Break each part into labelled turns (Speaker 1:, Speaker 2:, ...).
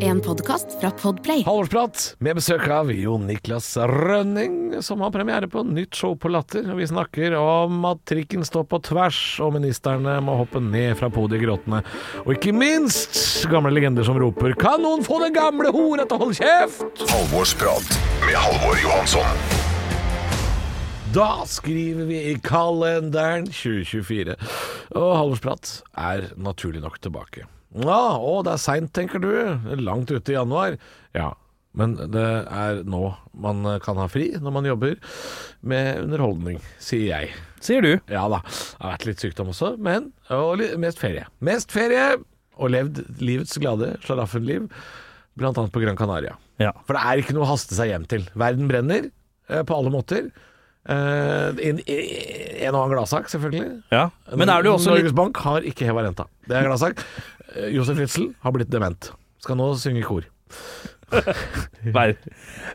Speaker 1: En podkast fra Podplay.
Speaker 2: Halvorsprat med besøk av Jon Niklas Rønning, som har premiere på nytt show på Latter. Og Vi snakker om at trikken står på tvers, og ministerne må hoppe ned fra podiet gråtende. Og ikke minst gamle legender som roper 'Kan noen få den gamle hora til å holde kjeft?'
Speaker 3: Halvorsprat med Halvor Johansson.
Speaker 2: Da skriver vi i kalenderen 2024. Og Halvorsprat er naturlig nok tilbake. Ja, å, det er seint, tenker du. Langt ute i januar. Ja, men det er nå man kan ha fri, når man jobber med underholdning, sier jeg.
Speaker 4: Sier du.
Speaker 2: Ja da, det har vært litt sykdom også, men og li- mest ferie. Mest ferie! Og levd livets glade sjaraffenliv, blant annet på Gran Canaria.
Speaker 4: Ja.
Speaker 2: For det er ikke noe å haste seg hjem til. Verden brenner eh, på alle måter. Eh, en, en og annen gladsak, selvfølgelig.
Speaker 4: ja. Men er du også
Speaker 2: Norges
Speaker 4: litt
Speaker 2: Bank har ikke heva renta. Det er en gladsak. Eh, Josef Ritzel har blitt dement. Skal nå synge i kor.
Speaker 4: Ver-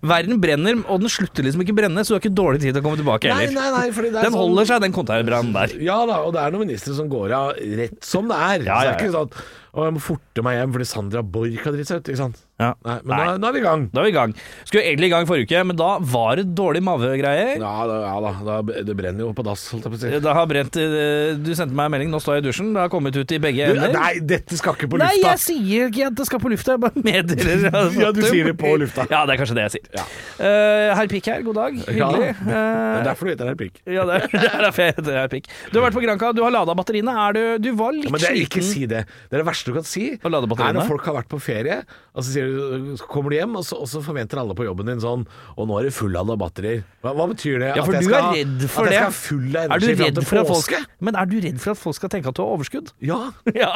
Speaker 4: Verden brenner, og den slutter liksom ikke å brenne, så du har ikke dårlig tid til å komme tilbake
Speaker 2: Nei,
Speaker 4: heller.
Speaker 2: nei, nei, fordi det er sånn-
Speaker 4: Den holder seg, den konteinerbrannen der.
Speaker 2: Ja da, og det er noen ministre som går av rett som det er.
Speaker 4: Ja,
Speaker 2: Så det
Speaker 4: ja,
Speaker 2: er ikke sånn at å, jeg må forte meg hjem fordi Sandra Borch har dritt seg ut. Ikke sant?
Speaker 4: Ja.
Speaker 2: Nei, men
Speaker 4: Nei.
Speaker 2: Da, da er vi i gang.
Speaker 4: Da er vi i gang. Skulle egentlig i gang forrige uke, men da var det dårlig mavegreier.
Speaker 2: Ja da, ja, da, da det brenner jo på dass, holdt jeg på å si.
Speaker 4: Det har brent eh, Du sendte meg en melding, nå står jeg i dusjen. Det har kommet ut i begge
Speaker 2: Du,
Speaker 4: ender.
Speaker 2: nei, dette skal ikke på
Speaker 4: Nei,
Speaker 2: lufta!
Speaker 4: jeg sier ikke at det skal på lufta, jeg bare meddeler. at-
Speaker 2: Ja, du sier det på lufta.
Speaker 4: Ja, det er kanskje det jeg sier.
Speaker 2: Ja.
Speaker 4: Eh, herr Pikk her, god dag.
Speaker 2: Ja.
Speaker 4: Hyggelig.
Speaker 2: Det
Speaker 4: Eh,
Speaker 2: er derfor du heter Herpik.
Speaker 4: ja, det er, det er derfor jeg heter herr Pikk. Du har vært på Granca, du har lada batteriene. Er du, du var litt
Speaker 2: Men det er ikke
Speaker 4: sliten.
Speaker 2: si det. Det er det verste du kan si.
Speaker 4: Å lade
Speaker 2: Er
Speaker 4: batteriene?
Speaker 2: når folk har vært på ferie, og så, sier du, så kommer du hjem, og så, og så forventer alle på jobben din sånn Og nå er det full av batterier. Hva, hva betyr det?
Speaker 4: Ja, for
Speaker 2: at jeg
Speaker 4: du
Speaker 2: skal,
Speaker 4: er redd for
Speaker 2: at
Speaker 4: det.
Speaker 2: jeg skal ha full av
Speaker 4: Er du
Speaker 2: energi fram
Speaker 4: redd
Speaker 2: til
Speaker 4: for at folk
Speaker 2: påske?
Speaker 4: Men er du redd for at folk skal tenke at du har overskudd?
Speaker 2: Ja.
Speaker 4: Ja,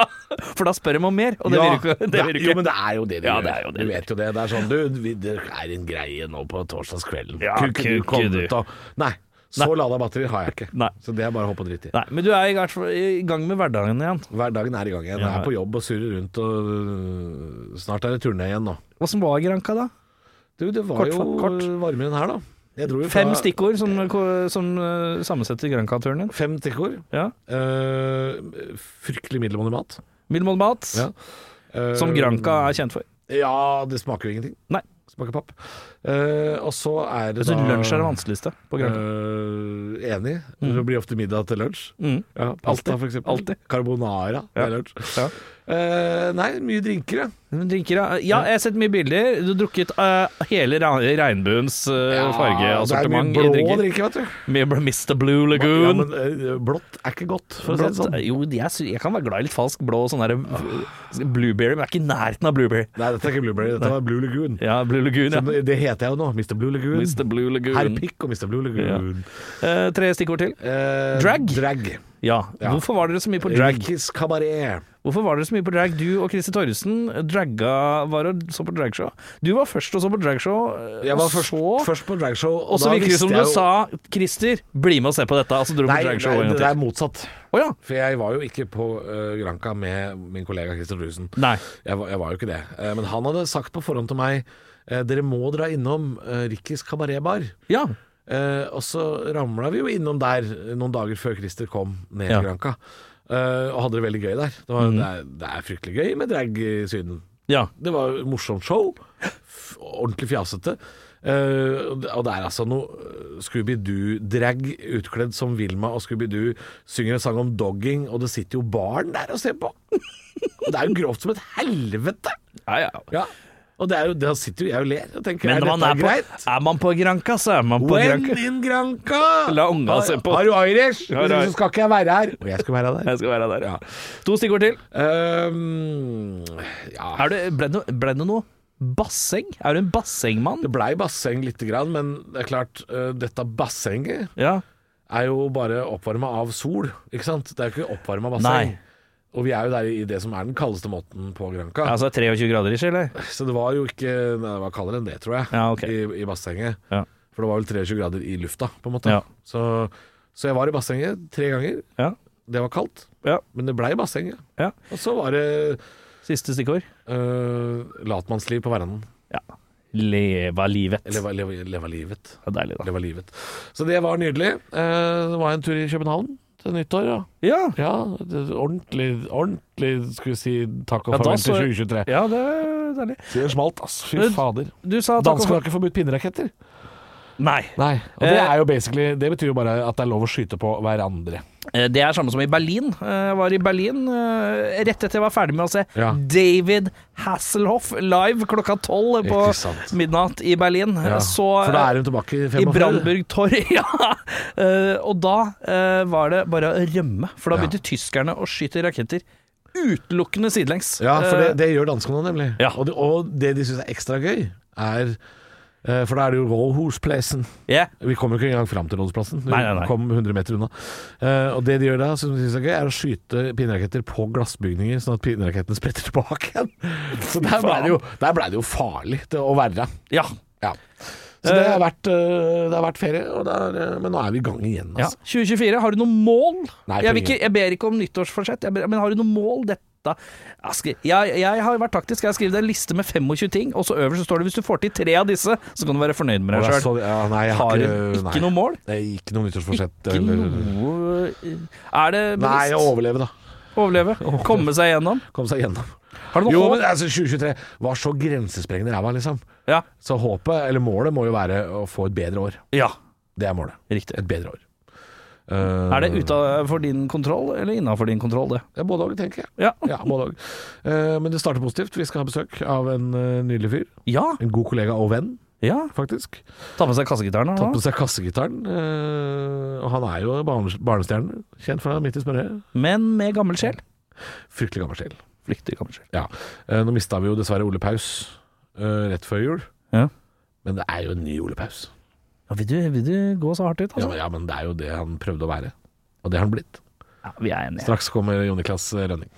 Speaker 4: for da spør de om mer, og det
Speaker 2: ja.
Speaker 4: vil du ikke. Det vil du
Speaker 2: Jo,
Speaker 4: ikke.
Speaker 2: men det er jo det de
Speaker 4: Ja,
Speaker 2: gjør.
Speaker 4: det er jo det
Speaker 2: du
Speaker 4: de
Speaker 2: vet jo det. Det er sånn, du, vi, det er en greie nå på torsdagskvelden.
Speaker 4: Ja,
Speaker 2: Kunne ikke
Speaker 4: kunne
Speaker 2: du komme
Speaker 4: du.
Speaker 2: ut og Nei. Så lada batterier har jeg ikke.
Speaker 4: Nei.
Speaker 2: Så det er bare å hoppe og drite i.
Speaker 4: Nei, men du er i hvert fall i gang med hverdagen igjen.
Speaker 2: Hverdagen er i gang igjen. Jeg
Speaker 4: Ja.
Speaker 2: er på jobb og surrer rundt, og øh, snart er det turné igjen nå.
Speaker 4: Åssen var Granca, da?
Speaker 2: Du, det var
Speaker 4: Kort,
Speaker 2: jo
Speaker 4: kort.
Speaker 2: varmere enn her, da. Jeg dro jo
Speaker 4: Fem
Speaker 2: fra-
Speaker 4: stikkord som, som eh, sammensetter Granca-turen din.
Speaker 2: Fem stikkord.
Speaker 4: Ja.
Speaker 2: Eh, fryktelig middelmådig mat.
Speaker 4: Mild mål mat,
Speaker 2: Ja. Eh,
Speaker 4: som Granca er kjent for.
Speaker 2: Ja, det smaker jo ingenting.
Speaker 4: Nei.
Speaker 2: Smaker papp. Eh, og så er det
Speaker 4: Altså,
Speaker 2: da
Speaker 4: lunsj er det vanskeligste på Granca.
Speaker 2: Eh, enig. Det blir ofte middag til lunsj.
Speaker 4: Mm.
Speaker 2: Ja, pasta, for eksempel.
Speaker 4: Alltid.
Speaker 2: Carbonara
Speaker 4: Ja.
Speaker 2: til lunsj.
Speaker 4: Ja.
Speaker 2: Eh, nei, mye drinker, ja.
Speaker 4: Men Drinker, ja. ja, jeg har sett mye bilder. Du har drukket eh, hele ra- regnbuens uh,
Speaker 2: det er mye
Speaker 4: fargeassortiment i
Speaker 2: blå drinker,
Speaker 4: drinker.
Speaker 2: vet du.
Speaker 4: Med Mr. Blue
Speaker 2: Ja,
Speaker 4: Lagoon.
Speaker 2: men eh, blått er ikke godt, for å si
Speaker 4: Um. Blått,
Speaker 2: det sånn. Ah.
Speaker 4: jo, jeg, sy- jeg kan være glad i litt falsk blå og sånn der eh, blueberry, men jeg er ikke i nærheten av blueberry.
Speaker 2: Nei, dette er ikke Blueberry, dette var Blue Lagoon.
Speaker 4: Ja, Blue Lagoon, ja.
Speaker 2: Så Det heter jeg jo nå. Mr. Blue Lagoon.
Speaker 4: Mr. Blue
Speaker 2: Herr
Speaker 4: Lagoon.
Speaker 2: Pikk og Mr. Blue Lagoon.
Speaker 4: Eh, tre stikkord til.
Speaker 2: Eh,
Speaker 4: Drag?
Speaker 2: Drag.
Speaker 4: Ja.
Speaker 2: Ja.
Speaker 4: Hvorfor var dere så mye på drag?
Speaker 2: Rikis kabaret.
Speaker 4: Hvorfor var dere så mye på drag? Du og Christer Torjussen dragga var og så på dragshow. Du var først og så på dragshow, eh,
Speaker 2: Jeg var
Speaker 4: og
Speaker 2: først,
Speaker 4: så
Speaker 2: først på dragshow, og,
Speaker 4: Og så
Speaker 2: da
Speaker 4: virker det
Speaker 2: visste
Speaker 4: som du
Speaker 2: jeg jo-
Speaker 4: sa 'Christer, bli med og se på dette', Altså, og så dro du
Speaker 2: Nei,
Speaker 4: på dragshow
Speaker 2: nei,
Speaker 4: en
Speaker 2: det er
Speaker 4: gang til.
Speaker 2: motsatt.
Speaker 4: Å ja.
Speaker 2: For jeg var jo ikke på eh, Granca med min kollega Christer Drusen.
Speaker 4: Nei.
Speaker 2: Jeg, var- jeg var jo ikke det. Eh, men han hadde sagt på forhånd til meg eh, dere må dra innom uh, Rikkis eh, kabaretbar.
Speaker 4: Ja.
Speaker 2: Eh, og så ramla vi jo innom der eh, noen dager før Christer kom ned
Speaker 4: Ja. Mm.
Speaker 2: til Granca. Eh, og hadde det veldig gøy der. Det, var, det, er, det er fryktelig gøy med drag i Syden.
Speaker 4: Ja.
Speaker 2: Det var et morsomt show. F- Ordentlig fjasete. Eh, og det- og det er altså noe eh, Scooby-Doo-drag utkledd som Vilma og Scooby-Doo synger en sang om dogging, og det sitter jo barn der og ser på. Og det er jo grovt som et helvete!
Speaker 4: Ja, ja.
Speaker 2: Ja. Og det er jo, da sitter jo jeg og ler og tenker
Speaker 4: Men
Speaker 2: er
Speaker 4: når man
Speaker 2: dette
Speaker 4: er,
Speaker 2: greit?
Speaker 4: på, er man på Granca, så er man på
Speaker 2: When
Speaker 4: Granca.
Speaker 2: in Granca!
Speaker 4: La unga
Speaker 2: Har-
Speaker 4: se på.
Speaker 2: Har du Irish?
Speaker 4: Har du Irish?
Speaker 2: Så skal ikke jeg være her. Og jeg skal være der.
Speaker 4: Jeg skal være der. To stikkord til.
Speaker 2: Ehm, ja.
Speaker 4: Er det, ble, det, noe- ble det noe basseng? Er du en bassengmann?
Speaker 2: Det blei basseng lite grann, men det er klart, eh, dette bassenget
Speaker 4: Ja.
Speaker 2: er jo bare oppvarma av sol, ikke sant? Det er jo ikke oppvarma basseng.
Speaker 4: Nei.
Speaker 2: Og vi er jo der i det som er den kaldeste måten på Granca.
Speaker 4: Altså 23 grader ish, eller?
Speaker 2: Så det var jo ikke Nei, det var kaldere enn det, tror jeg,
Speaker 4: Ja, ok.
Speaker 2: i, i bassenget.
Speaker 4: Ja.
Speaker 2: For det var vel 23 grader i lufta, på en måte.
Speaker 4: Ja.
Speaker 2: Så, så jeg var i bassenget tre ganger.
Speaker 4: Ja.
Speaker 2: Det var kaldt,
Speaker 4: Ja.
Speaker 2: men det blei bassenget.
Speaker 4: Ja.
Speaker 2: Og så var det
Speaker 4: Siste stikkord.
Speaker 2: øh, latmannsliv på verandaen.
Speaker 4: Ja. Leva livet.
Speaker 2: Eller leva, leva, leva livet.
Speaker 4: Det er deilig, da.
Speaker 2: Leva livet. Så det var nydelig. Eh, det var en tur i København til nyttår. Ja.
Speaker 4: Ja.
Speaker 2: Ja, det- ordentlig, ordentlig skulle vi si takk og
Speaker 4: Ja, da
Speaker 2: farvel til
Speaker 4: så-
Speaker 2: 2023.
Speaker 4: ja, det er deilig.
Speaker 2: Det smalt, ass. Fy
Speaker 4: Men-
Speaker 2: fader.
Speaker 4: Du sa takk
Speaker 2: Danskene har
Speaker 4: og
Speaker 2: ikke forbudt pinneraketter.
Speaker 4: Nei.
Speaker 2: Nei, og det
Speaker 4: Eh,
Speaker 2: er jo basically Det betyr jo bare at det er lov å skyte på hverandre.
Speaker 4: Eh, Det er samme som i Berlin. Eh, Jeg var i Berlin eh, rett etter jeg var ferdig med å se
Speaker 2: Ja.
Speaker 4: David Hasselhoff live klokka tolv
Speaker 2: Ikke
Speaker 4: på
Speaker 2: sant.
Speaker 4: midnatt i Berlin.
Speaker 2: Ja,
Speaker 4: Så eh,
Speaker 2: For da er hun tilbake i
Speaker 4: i
Speaker 2: 45.
Speaker 4: Brandenburg Torg, ja. Eh, Og da eh, var det bare å rømme, for da
Speaker 2: Ja.
Speaker 4: begynte tyskerne å skyte raketter utelukkende sidelengs.
Speaker 2: Ja, for det,
Speaker 4: Eh,
Speaker 2: det gjør danskene nemlig.
Speaker 4: Ja.
Speaker 2: Og, det, og det de syns er ekstra gøy, er eh, For da er det jo Råhusplassen.
Speaker 4: Eh, ja.
Speaker 2: Vi kom jo ikke engang fram til Rådhusplassen. Vi
Speaker 4: Nei, nei, nei.
Speaker 2: kom 100 meter unna. Eh, og det de gjør da, som de syns er gøy, er å skyte pinneraketter på glassbygninger, sånn at pinnerakettene spretter tilbake igjen. Så der ble det jo, der ble det jo farlig til å være.
Speaker 4: Ja.
Speaker 2: Ja. Så det har vært, eh, det har vært ferie, og det er, eh, men nå er vi i gang igjen.
Speaker 4: ja.
Speaker 2: Altså.
Speaker 4: 2024, har du noe mål?
Speaker 2: Nei, på
Speaker 4: jeg, vil
Speaker 2: ingen.
Speaker 4: ikke, jeg ber ikke om nyttårsforsett, jeg ber, men har du noe mål? Dette jeg, skri- jeg, jeg har vært taktisk, jeg har skrevet en liste med 25 ting, og så øverst så står det hvis du får til tre av disse, så kan du være fornøyd med
Speaker 2: Og
Speaker 4: deg
Speaker 2: jeg
Speaker 4: sjøl.
Speaker 2: så- ja, nei, jeg
Speaker 4: Har du
Speaker 2: nei.
Speaker 4: ikke noe mål?
Speaker 2: Det er ikke noe nyttårsforsett.
Speaker 4: Ikke
Speaker 2: eller-
Speaker 4: noe Er det
Speaker 2: øh, Nei, å
Speaker 4: bevisst?
Speaker 2: overleve, da.
Speaker 4: Overleve? Komme seg gjennom?
Speaker 2: Komme seg gjennom.
Speaker 4: Har du noe
Speaker 2: Jo,
Speaker 4: håp?
Speaker 2: men altså, 2023 var så grensesprengende ræva, liksom.
Speaker 4: Ja.
Speaker 2: Så håpet, eller målet, må jo være å få et bedre år.
Speaker 4: ja.
Speaker 2: Det er målet.
Speaker 4: Riktig.
Speaker 2: Et bedre år. Eh,
Speaker 4: Er det utafor din kontroll, eller innafor din kontroll, det?
Speaker 2: ja, Både òg, tenker jeg.
Speaker 4: Ja.
Speaker 2: Ja, både og. Eh, men det starter positivt. Vi skal ha besøk av en eh, nydelig fyr.
Speaker 4: Ja.
Speaker 2: En god kollega og venn,
Speaker 4: ja.
Speaker 2: faktisk.
Speaker 4: Ta med seg kassegitaren.
Speaker 2: Tatt
Speaker 4: da.
Speaker 2: med seg kassegitaren. eh, og han er jo barnes barnestjerne. Kjent for deg midt i smørøyet.
Speaker 4: Men med gammel sjel.
Speaker 2: Fryktelig gammel sjel.
Speaker 4: Flyktig gammel sjel.
Speaker 2: Ja. Eh, Nå mista vi jo dessverre Ole Paus eh, rett før jul.
Speaker 4: Ja.
Speaker 2: Men det er jo en ny Ole Paus.
Speaker 4: Ja, vil, du, vil du gå så hardt ut,
Speaker 2: Ja,
Speaker 4: altså?
Speaker 2: men- ja, men det er jo det han prøvde å være. Og det har han blitt.
Speaker 4: Ja, vi er enige.
Speaker 2: Straks kommer Jon Niklas Rønning.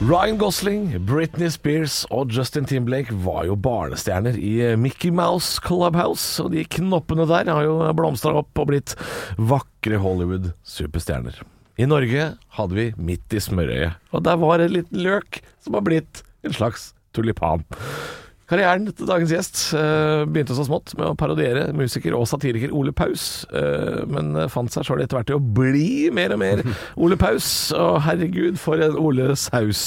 Speaker 2: Ryan Gosling, Britney Spears og Justin Timberlake var jo barnestjerner i eh, Mickey Mouse Clubhouse, og de knoppene der har jo blomstra opp og blitt vakre Hollywood-superstjerner. I Norge hadde vi midt i smørøyet, og der var en liten løk som har blitt en slags tulipan. Karrieren til dagens gjest eh, begynte så smått med å parodiere musiker og satiriker Ole Paus, eh, men fant seg sjøl etter hvert til å bli mer og mer Ole Paus. Og herregud, for en Ole Saus.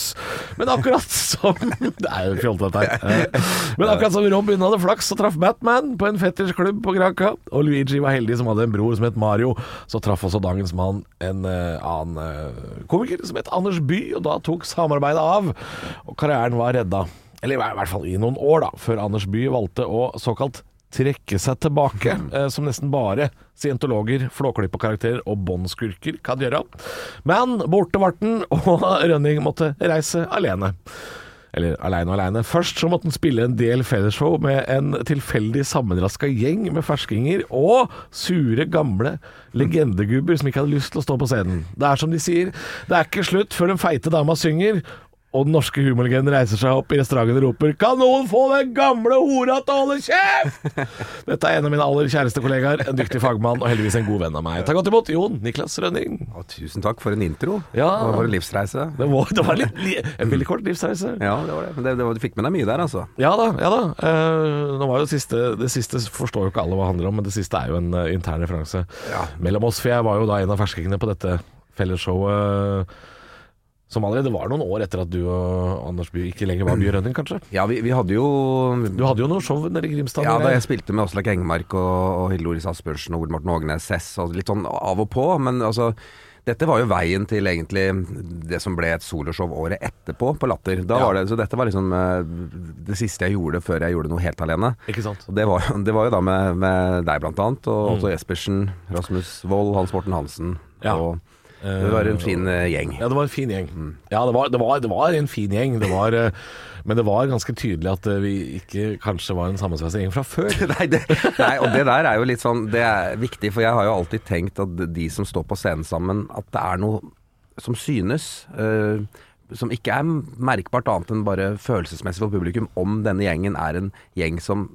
Speaker 2: Men akkurat som Det er jo fjollete, dette her. Eh, Men akkurat som Robin hadde flaks og traff Batman på en fettersklubb på Granca, og Luigi var heldig som hadde en bror som het Mario, så traff også dagens mann en eh, annen eh, komiker som het Anders By, og da tok samarbeidet av, og karrieren var redda. Eller i hver- hvert fall i noen år, da, før Anders Bye valgte å såkalt trekke seg tilbake, eh, som nesten bare scientologer, flåklypekarakterer og båndskurker kan gjøre. Men borte ble den, og Rønning måtte reise alene. Eller aleine og aleine. Først så måtte han spille en del fellesshow med en tilfeldig sammenraska gjeng med ferskinger og sure, gamle legendegubber som ikke hadde lyst til å stå på scenen. Det er som de sier, det er ikke slutt før den feite dama synger. Og den norske humorlegenden reiser seg opp i restauranten og roper 'Kan noen få den gamle hora til å holde kjeft?' Dette er en av mine aller kjæreste kollegaer, en dyktig fagmann og heldigvis en god venn av meg. Ta godt imot Jon Niklas Rønning.
Speaker 5: Og tusen takk for en intro
Speaker 2: Ja.
Speaker 5: og for en livsreise.
Speaker 2: Det var, det var litt, li- en veldig kort livsreise.
Speaker 5: Ja, det var det. Men det, det var, du fikk med deg mye der, altså.
Speaker 2: Ja da. ja da Eh, Nå var jo Det siste Det siste forstår jo ikke alle hva det handler om, men det siste er jo en eh, intern referanse mellom oss. For jeg var jo da en av ferskingene på dette fellesshowet eh, som allerede var noen år etter at du og Anders Bye ikke lenger var Bye Rønning, kanskje.
Speaker 5: Ja, vi, vi hadde jo
Speaker 2: Du hadde jo noe show nede i Grimstad.
Speaker 5: ja,
Speaker 2: nede.
Speaker 5: da jeg spilte med Åslaug Engmark og, og Hilde Loris Asbjørnsen og Ole Morten Ågnes Sess, og litt sånn av og på, men altså dette var jo veien til egentlig det som ble et soloshow året etterpå, på Latter. Da var det, så dette var liksom eh, det siste jeg gjorde før jeg gjorde noe helt alene.
Speaker 2: Ikke sant?
Speaker 5: Og det var, jo- det var jo da med, med deg blant annet,
Speaker 2: Mm.
Speaker 5: og Otto Jespersen, Rasmus Wold, Hans Morten Hansen.
Speaker 2: Ja.
Speaker 5: Og det var en fin eh, gjeng. Mm.
Speaker 2: Ja, det var en fin gjeng. Ja, det var, det var, det var en fin gjeng. Det var, eh, men det var ganske tydelig at eh, vi ikke kanskje var en sammensveisa gjeng fra før.
Speaker 5: nei, det, nei, og det der er jo litt sånn Det er viktig, for jeg har jo alltid tenkt at de som står på scenen sammen, at det er noe som synes. eh, som ikke er merkbart annet enn bare følelsesmessig for publikum, om denne gjengen er en gjeng som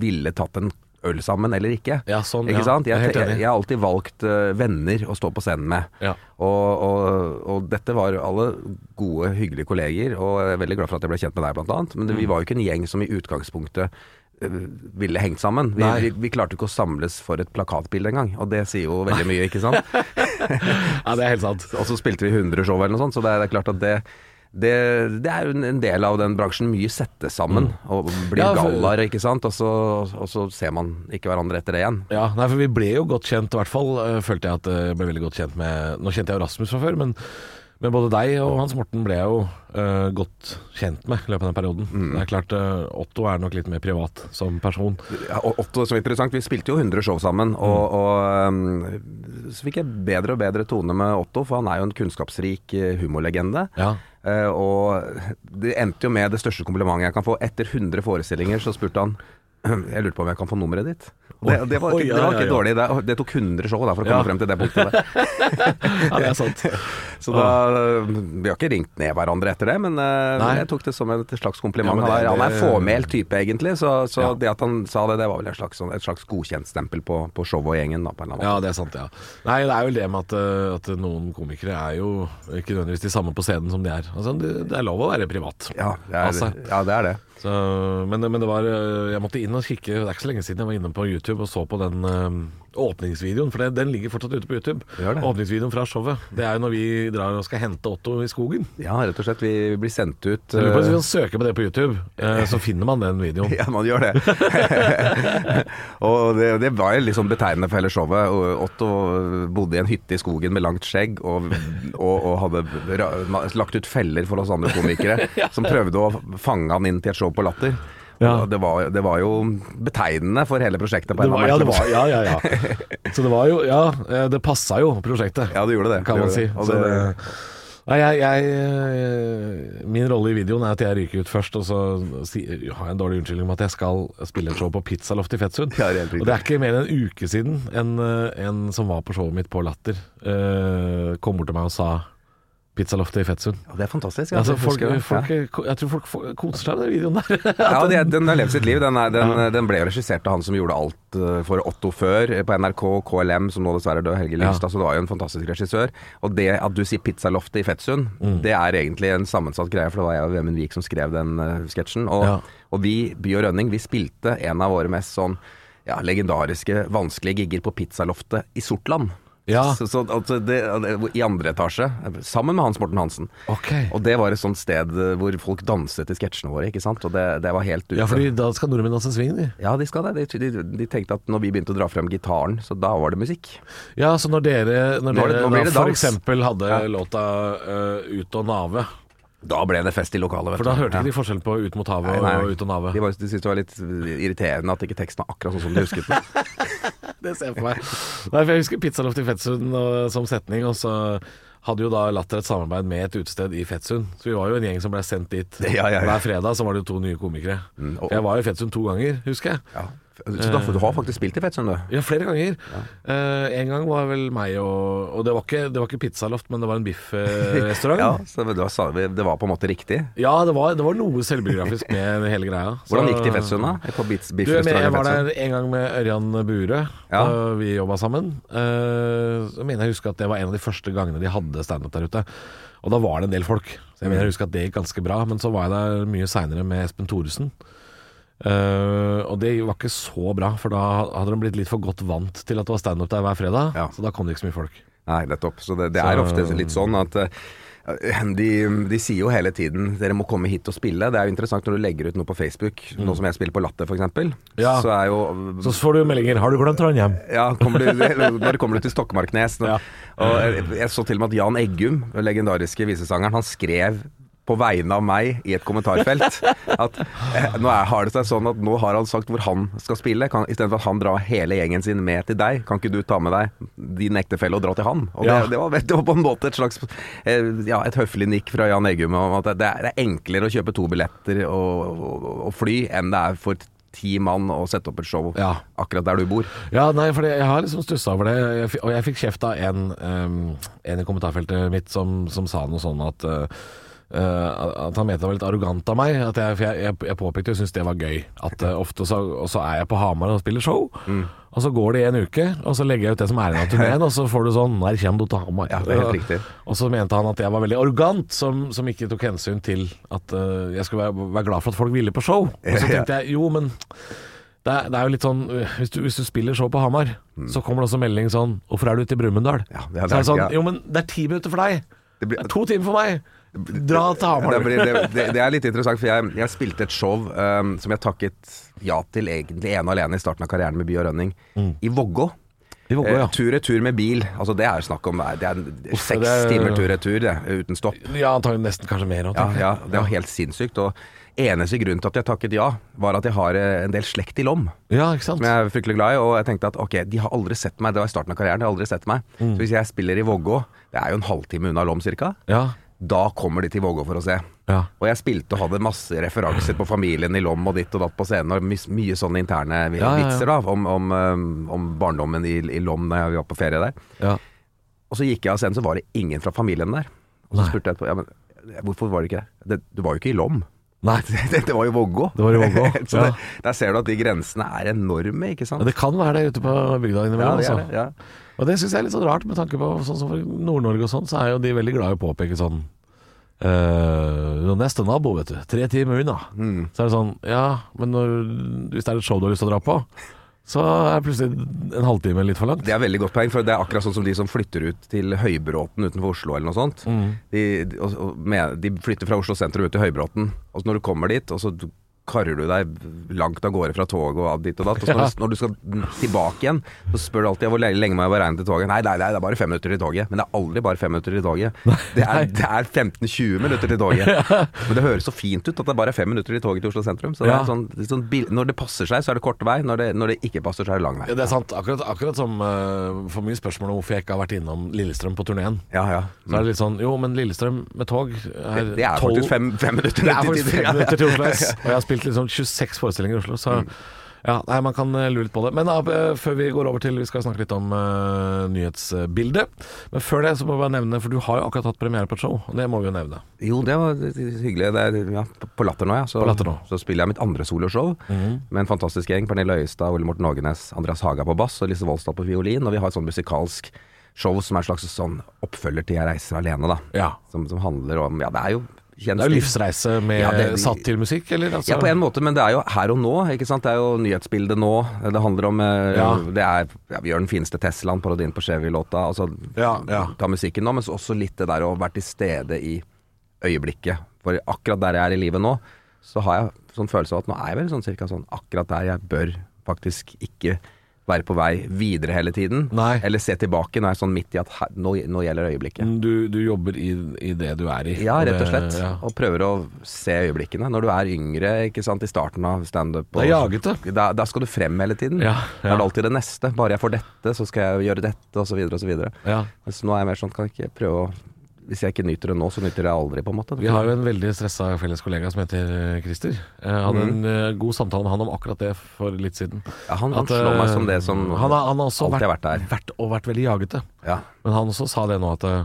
Speaker 5: ville tatt en øl sammen eller ikke.
Speaker 2: Ja, sånn,
Speaker 5: ikke
Speaker 2: ja.
Speaker 5: sant?
Speaker 2: Jeg er
Speaker 5: Jeg,
Speaker 2: helt
Speaker 5: jeg,
Speaker 2: enig.
Speaker 5: jeg har alltid valgt eh, venner å stå på scenen med.
Speaker 2: Ja.
Speaker 5: Og, og, og dette var alle gode, hyggelige kolleger, og jeg er veldig glad for at jeg ble kjent med deg, blant annet. Men det, vi var jo ikke en gjeng som i utgangspunktet øh, ville hengt sammen. Vi,
Speaker 2: Nei.
Speaker 5: vi, vi klarte ikke å samles for et plakatbilde engang, og det sier jo veldig mye, ikke sant?
Speaker 2: Ja, det er helt sant.
Speaker 5: Og så spilte vi 100 show eller noe sånt, så det er, det er klart at det det, det er jo en- en del av den bransjen. Mye settes sammen og blir
Speaker 2: Ja, for-
Speaker 5: gallaer, ikke sant. Og så, og så ser man ikke hverandre etter det igjen.
Speaker 2: Ja, nei, for vi ble jo godt kjent, i hvert fall eh, følte jeg at eh, jeg ble veldig godt kjent med Nå kjente jeg jo Rasmus fra før, men, men både deg og Hans Morten ble jeg jo eh, godt kjent med i løpet av den perioden.
Speaker 5: Mm.
Speaker 2: Det er klart, eh, Otto er nok litt mer privat som person.
Speaker 5: Ja, og Otto, som er interessant, vi spilte jo 100 show sammen, og, og um, så fikk jeg bedre og bedre tone med Otto, for han er jo en kunnskapsrik eh, humorlegende.
Speaker 2: Ja.
Speaker 5: Eh, og det endte jo med det største komplimentet jeg kan få. Etter 100 forestillinger så spurte han jeg lurte på om jeg kan få nummeret ditt. Og det, det var
Speaker 2: Oi,
Speaker 5: ikke,
Speaker 2: ja,
Speaker 5: det var
Speaker 2: ja,
Speaker 5: ikke
Speaker 2: ja.
Speaker 5: dårlig. Det, det tok 100 show da, for å komme
Speaker 2: Ja.
Speaker 5: frem til det punktet. Der.
Speaker 2: Ja, det er sant. Ah.
Speaker 5: Så da, vi har ikke ringt ned hverandre etter det, men eh,
Speaker 2: Nei.
Speaker 5: jeg tok det som et slags kompliment.
Speaker 2: Ja, men det-
Speaker 5: han er
Speaker 2: det-
Speaker 5: en fåmælt type, egentlig, så, så
Speaker 2: Ja.
Speaker 5: det at han sa det, det var vel en slags, sånn- et slags godkjentstempel på, på showet og gjengen. Da, på en eller annen måte.
Speaker 2: Ja, det er sant, ja. Nei, det er vel det med at, eh, at noen komikere er jo ikke nødvendigvis de samme på scenen som de er. Altså, det, det er lov å være privat.
Speaker 5: Ja, det er,
Speaker 2: Altså.
Speaker 5: ja, det er det.
Speaker 2: Så, men, men det var eh, Jeg måtte inn og kikke, det er ikke så lenge siden jeg var inne på YouTube og så på den eh, åpningsvideoen, for den, den ligger fortsatt ute på YouTube.
Speaker 5: Gjør det.
Speaker 2: Åpningsvideoen fra showet. Det er jo når vi drar og skal hente Otto i skogen.
Speaker 5: Ja, rett og slett. Vi blir sendt ut
Speaker 2: Jeg lurer på Hvis vi
Speaker 5: eh,
Speaker 2: kan søke på det på YouTube, eh, så finner man den videoen.
Speaker 5: Ja, man gjør det. og det, det var jo liksom betegnende for hele showet. Og Otto bodde i en hytte i skogen med langt skjegg og, og, og hadde ra- lagt ut feller for oss andre komikere, som prøvde å fange han inn til et show på Latter.
Speaker 2: Ja.
Speaker 5: Og Det, var, det var jo betegnende for hele prosjektet. På
Speaker 2: Det
Speaker 5: en
Speaker 2: var,
Speaker 5: eller
Speaker 2: ja, det
Speaker 5: annen
Speaker 2: var,
Speaker 5: måte.
Speaker 2: ja, ja, ja. Så det var jo Ja, eh, det passa jo prosjektet.
Speaker 5: Ja, det gjorde det.
Speaker 2: kan
Speaker 5: Det
Speaker 2: man
Speaker 5: gjorde
Speaker 2: si.
Speaker 5: det. Og
Speaker 2: Så
Speaker 5: det-
Speaker 2: det- Nei, jeg, jeg, eh, min rolle i videoen er at jeg ryker ut først, og så si, har jeg en dårlig unnskyldning om at jeg skal spille et show på Pizzaloft i Fettsund.
Speaker 5: Ja, det er helt riktig.
Speaker 2: og det er ikke mer enn en uke siden en, eh, en som var på showet mitt på Latter, eh, kom bort til meg og sa Pizzaloftet i Fettsund.
Speaker 5: Ja, det er fantastisk.
Speaker 2: Altså,
Speaker 5: jeg
Speaker 2: folk,
Speaker 5: husker det.
Speaker 2: folk, Jeg tror folk får- koser seg med den videoen der.
Speaker 5: ja. ja, det- den har levd sitt liv. Den, er, den, den ble jo regissert av han som gjorde alt eh, for Otto før, eh, på NRK, KLM, som nå dessverre er død, Helge
Speaker 2: Ja.
Speaker 5: Lyngstad. Så det var jo en fantastisk regissør. Og det at du sier Pizzaloftet i Fettsund,
Speaker 2: Mm.
Speaker 5: det er egentlig en sammensatt greie, for det var jeg og Vemund Vik som skrev den eh, sketsjen. Og,
Speaker 2: Ja.
Speaker 5: og vi, By og Rønning, vi spilte en av våre mest sånn ja, legendariske, vanskelige gigger på Pizzaloftet i Sortland.
Speaker 2: Ja.
Speaker 5: Så, så, altså det, I andre etasje, sammen med Hans Morten Hansen.
Speaker 2: Ok.
Speaker 5: Og det var et sånt sted eh, hvor folk danset til sketsjene våre, ikke sant. Og det, det var helt ute.
Speaker 2: Ja, fordi da skal nordmenn danse swing, de.
Speaker 5: Ja, de skal det. De, de, de tenkte at når vi begynte å dra frem gitaren, så da var det musikk.
Speaker 2: Ja, så når dere, når
Speaker 5: Nå er det-
Speaker 2: dere
Speaker 5: nå blir det
Speaker 2: da for
Speaker 5: dans.
Speaker 2: eksempel hadde
Speaker 5: Ja.
Speaker 2: låta eh, Ut og nave
Speaker 5: Da ble det fest i lokalet, vet
Speaker 2: For da hørte ikke de forskjell på Ut mot havet
Speaker 5: Nei, nei.
Speaker 2: og Ut og nave
Speaker 5: De, var, de syntes det var litt irriterende at ikke teksten var akkurat sånn som de husket den.
Speaker 2: Det ser jeg for meg Nei, for jeg husker Pizzaloft i Fettsund og, som setning Og så hadde jo da Latter et samarbeid med et utested i Fettsund Så vi var jo en gjeng som ble sendt dit
Speaker 5: Ja, ja, ja.
Speaker 2: Hver fredag så var det jo to nye komikere
Speaker 5: Mm, og-
Speaker 2: For Jeg var jo i Fettsund to ganger, husker jeg
Speaker 5: Ja. Så da, får- du har faktisk spilt i Fettsund, du.
Speaker 2: Ja, flere ganger. Eh, en gang var vel meg og Og det var ikke, det var ikke pizzaloft, men det var en biffrestaurant.
Speaker 5: Ja,
Speaker 2: ja.
Speaker 5: så det var, det var på en måte riktig.
Speaker 2: det var, det var noe selvbiografisk med hele greia. Så-
Speaker 5: Hvordan gikk det i Fettsund,
Speaker 2: Ah.
Speaker 5: da? På Bits-
Speaker 2: Du, jeg,
Speaker 5: biffrestaurant i
Speaker 2: jeg var
Speaker 5: Fettsund?
Speaker 2: der en gang med Ørjan Bure,
Speaker 5: Ja.
Speaker 2: og vi jobba sammen. Eh, Så mener jeg å huske at det var en av de første gangene de hadde standup der ute. Og da var det en del folk.
Speaker 5: Mm.
Speaker 2: Så jeg mener jeg husker at det gikk ganske bra. Men så var jeg der mye seinere med Espen Thoresen. Eh, og det var ikke så bra, for da hadde de blitt litt for godt vant til at det var standup der hver fredag. Så da kom det ikke så mye folk.
Speaker 5: Nei, nettopp. Så det, det er
Speaker 2: Så-
Speaker 5: ofte litt sånn at eh, de, de sier jo hele tiden 'dere må komme hit og spille'. Det er jo interessant når du legger ut noe på Facebook, nå som jeg spiller på Latter f.eks.
Speaker 2: Ja.
Speaker 5: Så er jo
Speaker 2: Så får du meldinger 'Har du glemt Trondheim?'
Speaker 5: ja, kommer du, eller når kommer du til Stokmarknes? Når, og jeg, jeg så til og med at Jan Eggum, den legendariske visesangeren, han skrev på vegne av meg i et kommentarfelt at eh, nå er, har det seg sånn at nå har han sagt hvor han skal spille. Kan, Istedenfor at han drar hele gjengen sin med til deg, kan ikke du ta med deg din ektefelle og dra til han? Og det,
Speaker 2: Ja.
Speaker 5: det, var, det var på en måte et slags eh, ja, et høflig nikk fra Jan Eggum om at det er, det er enklere å kjøpe to billetter og, og, og fly enn det er for ti mann å sette opp et show
Speaker 2: Ja.
Speaker 5: akkurat der du bor.
Speaker 2: Ja, nei, for det- jeg har liksom stussa over det. Jeg, fi- og jeg fikk kjeft av en, ehm, en i kommentarfeltet mitt som, som sa noe sånn at eh, eh, at han mente det var litt arrogant av meg. At jeg, for jeg, jeg, jeg påpekte og syntes det var gøy. At eh, ofte så, og så er jeg på Hamar og spiller show,
Speaker 5: Mm.
Speaker 2: og så går det en uke, og så legger jeg ut det som er igjen av turneen, og så får du sånn 'Når kommer du til Hamar?'
Speaker 5: Ja, det er helt riktig.
Speaker 2: Og så mente han at jeg var veldig arrogant, som, som ikke tok hensyn til at eh, jeg skulle være, være glad for at folk ville på show. Og så
Speaker 5: Ja.
Speaker 2: tenkte jeg jo, men det er, det er jo litt sånn øh, hvis du, hvis du spiller show på Hamar, så kommer det også melding sånn 'Hvorfor er du ute i Brumunddal?'
Speaker 5: Mm. Ja, det er
Speaker 2: så er det sånn
Speaker 5: ja.
Speaker 2: 'Jo, men det er ti minutter for deg.
Speaker 5: Det blir-
Speaker 2: Det er to timer for meg. Dra til Hamar.'
Speaker 5: Det, blir- det, det, det er litt interessant, for jeg, jeg spilte et show um, som jeg takket ja til egentlig ene og alene i starten av karrieren med By og Rønning, i Vågå.
Speaker 2: I Mm. Vågå, ja.
Speaker 5: Eh, tur-retur med bil. Altså Det er jo snakk om Det er seks
Speaker 2: det er-
Speaker 5: timer tur-retur det, uten stopp.
Speaker 2: Ja, antagelig nesten kanskje mer òg,
Speaker 5: Ja, ja, Det var helt sinnssykt. Og eneste grunn til at jeg takket ja, var at jeg har eh, en del slekt i Lom.
Speaker 2: Ja, ikke sant?
Speaker 5: Som jeg er fryktelig glad i. Og jeg tenkte at ok, de har aldri sett meg. Det var i starten av karrieren. De har aldri sett meg.
Speaker 2: Mm.
Speaker 5: Så hvis jeg spiller i Vågå, det er jo en halvtime unna Lom cirka,
Speaker 2: Ja.
Speaker 5: da kommer de til Vågå for å se.
Speaker 2: ja.
Speaker 5: Og jeg spilte og hadde masse referanser på familien i Lom og ditt og datt på scenen, og mys- mye sånne interne vi-
Speaker 2: Ja, ja, ja.
Speaker 5: vitser da, om, om, eh, om barndommen i, i Lom da jeg var på ferie der.
Speaker 2: ja.
Speaker 5: Og så gikk jeg av scenen, så var det ingen fra familien der. Og så
Speaker 2: Nei.
Speaker 5: spurte jeg etterpå, ja, men hvorfor var det ikke det? det du var jo ikke i Lom.
Speaker 2: Nei,
Speaker 5: Det, det var jo Vågå.
Speaker 2: Det var i Vågå,
Speaker 5: så
Speaker 2: ja.
Speaker 5: det, der ser du at de grensene er enorme, ikke sant?
Speaker 2: det kan være det ute på bygda
Speaker 5: Ja,
Speaker 2: innimellom.
Speaker 5: det er
Speaker 2: altså.
Speaker 5: det, ja.
Speaker 2: Og det syns jeg er litt sånn rart, med tanke på sånn som for Nord-Norge og sånn, så er jo de veldig glad i å påpeke sånn øh, Neste nabo, vet du. Tre timer unna. Så er det sånn Ja, men når, hvis det er et show du har lyst til å dra på, så er plutselig en halvtime litt for langt.
Speaker 5: Det er veldig godt poeng, for det er akkurat sånn som de som flytter ut til Høybråten utenfor Oslo eller noe sånt. De, de- og, og, med, de flytter fra Oslo sentrum ut til Høybråten, og så når du kommer dit, og så du- karrer du deg langt av gårde fra toget og av dit og datt. Og så når, du- når du skal tilbake igjen, så spør du alltid hvor le- lenge må jeg være regne til toget. Nei, nei, nei, det er bare fem minutter til toget. Men det er aldri bare fem minutter til toget. Det er, det er 15-20 minutter til toget. Men det høres så fint ut at det er bare fem minutter til toget til Oslo sentrum. Så det
Speaker 2: Ja.
Speaker 5: er sånn, det er sånn, bil- når det passer seg, så er det kort vei. Når det, når det ikke passer, så er det lang vei.
Speaker 2: Ja, det er sant. Akkurat, akkurat som øh, for mye spørsmål om hvorfor jeg ikke har vært innom Lillestrøm på turneen.
Speaker 5: Ja, ja.
Speaker 2: Så er det litt sånn Jo, men Lillestrøm med tog er
Speaker 5: Det er
Speaker 2: tolv-
Speaker 5: faktisk fem, fem minutter
Speaker 2: Det er
Speaker 5: ned til tider. Ja,
Speaker 2: faktisk fem
Speaker 5: Mm. ja.
Speaker 2: minutter til Oslo S. Og jeg har spilt liksom 26 forestillinger i Oslo, så ja, nei, man kan eh, lure litt på det. Men eh, før vi går over til Vi skal snakke litt om eh, nyhetsbildet. Men før det så må vi bare nevne, for du har jo akkurat hatt premiere på et show, og det må vi jo nevne.
Speaker 5: Jo, det var hyggelig. Det er, ja, på Latter nå, ja. Så,
Speaker 2: På Latter nå. Mhm.
Speaker 5: så spiller jeg mitt andre soloshow med en fantastisk gjeng. Pernille Øyestad, Ole Morten Ågenes, Andreas Haga på bass og Lise Volstad på fiolin. Og vi har et sånn musikalsk show som er en slags sånn oppfølger til Jeg reiser alene, da.
Speaker 2: Ja.
Speaker 5: Som, som handler om Ja, det er jo
Speaker 2: Det er jo livsreise med
Speaker 5: Ja, det-
Speaker 2: satt til musikk, eller? Altså,
Speaker 5: Ja, på en måte, men det er jo her og nå. ikke sant? Det er jo nyhetsbildet nå. Det handler om eh,
Speaker 2: Ja.
Speaker 5: Det er ja, Bjørn Finste Teslaen, parodien på Chevy-låta. Altså,
Speaker 2: Ja, ja.
Speaker 5: Ta musikken nå, men så også litt det der å være til stede i øyeblikket. For akkurat der jeg er i livet nå, så har jeg sånn følelse av at nå er jeg vel sånn cirka sånn akkurat der jeg bør faktisk ikke være på vei videre hele tiden.
Speaker 2: Nei.
Speaker 5: Eller se tilbake. Nå er jeg sånn midt i at her, nå, nå gjelder øyeblikket.
Speaker 2: Du, du jobber i, i det du er i.
Speaker 5: Ja, rett og slett.
Speaker 2: Det, ja.
Speaker 5: Og prøver å se øyeblikkene. Når du er yngre, ikke sant, i starten av standup. og-
Speaker 2: Det er jagete.
Speaker 5: Da, da skal du frem hele tiden.
Speaker 2: Ja,
Speaker 5: Da
Speaker 2: ja.
Speaker 5: er det alltid det neste. Bare jeg får dette, så skal jeg gjøre dette, og så videre og så videre.
Speaker 2: Ja.
Speaker 5: Mens nå er jeg mer sånn, kan jeg ikke prøve å hvis jeg ikke nyter det nå, så nyter jeg det aldri, på en måte.
Speaker 2: Vi har jo en veldig stressa felles kollega som heter eh, Christer. Jeg hadde
Speaker 5: Mhm.
Speaker 2: en eh, god samtale med han om akkurat det for litt siden.
Speaker 5: Ja, han- han slår
Speaker 2: eh,
Speaker 5: meg som det som
Speaker 2: han, har- han har også
Speaker 5: alltid
Speaker 2: vært,
Speaker 5: har
Speaker 2: vært, og vært veldig jagete.
Speaker 5: Ja.
Speaker 2: Men han også sa det nå at eh,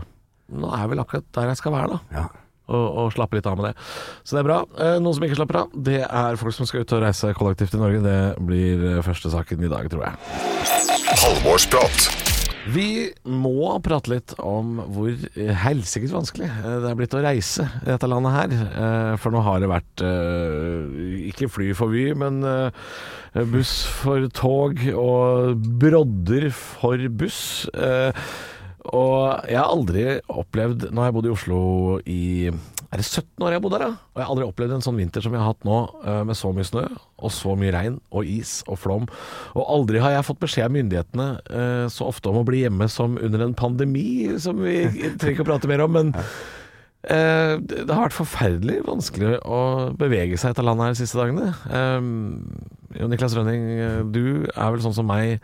Speaker 2: nå er jeg vel akkurat der jeg skal være, da. Og, og slappe litt av med det. Så det er bra. Eh, Noen som ikke slapper av, det er folk som skal ut og reise kollektivt i Norge. Det blir eh, første saken i dag, tror jeg.
Speaker 3: Halvorsprat.
Speaker 2: Vi må prate litt om hvor eh, helsikes vanskelig eh, det er blitt å reise i dette landet her. Eh, For nå har det vært eh, ikke fly for Vy, men eh, buss for tog og brodder for buss. Eh, Og jeg har aldri opplevd Nå har jeg bodd i Oslo i er det 17 år jeg har bodd her, da? Og jeg har aldri opplevd en sånn vinter som jeg har hatt nå, eh, med så mye snø og så mye regn og is og flom. Og aldri har jeg fått beskjed av myndighetene eh, så ofte om å bli hjemme som under en pandemi, som vi trenger ikke å prate mer om, men eh, det det har vært forferdelig vanskelig å bevege seg etter landet her de siste dagene. Eh, Jo Niklas Rønning, eh, du er vel sånn som meg,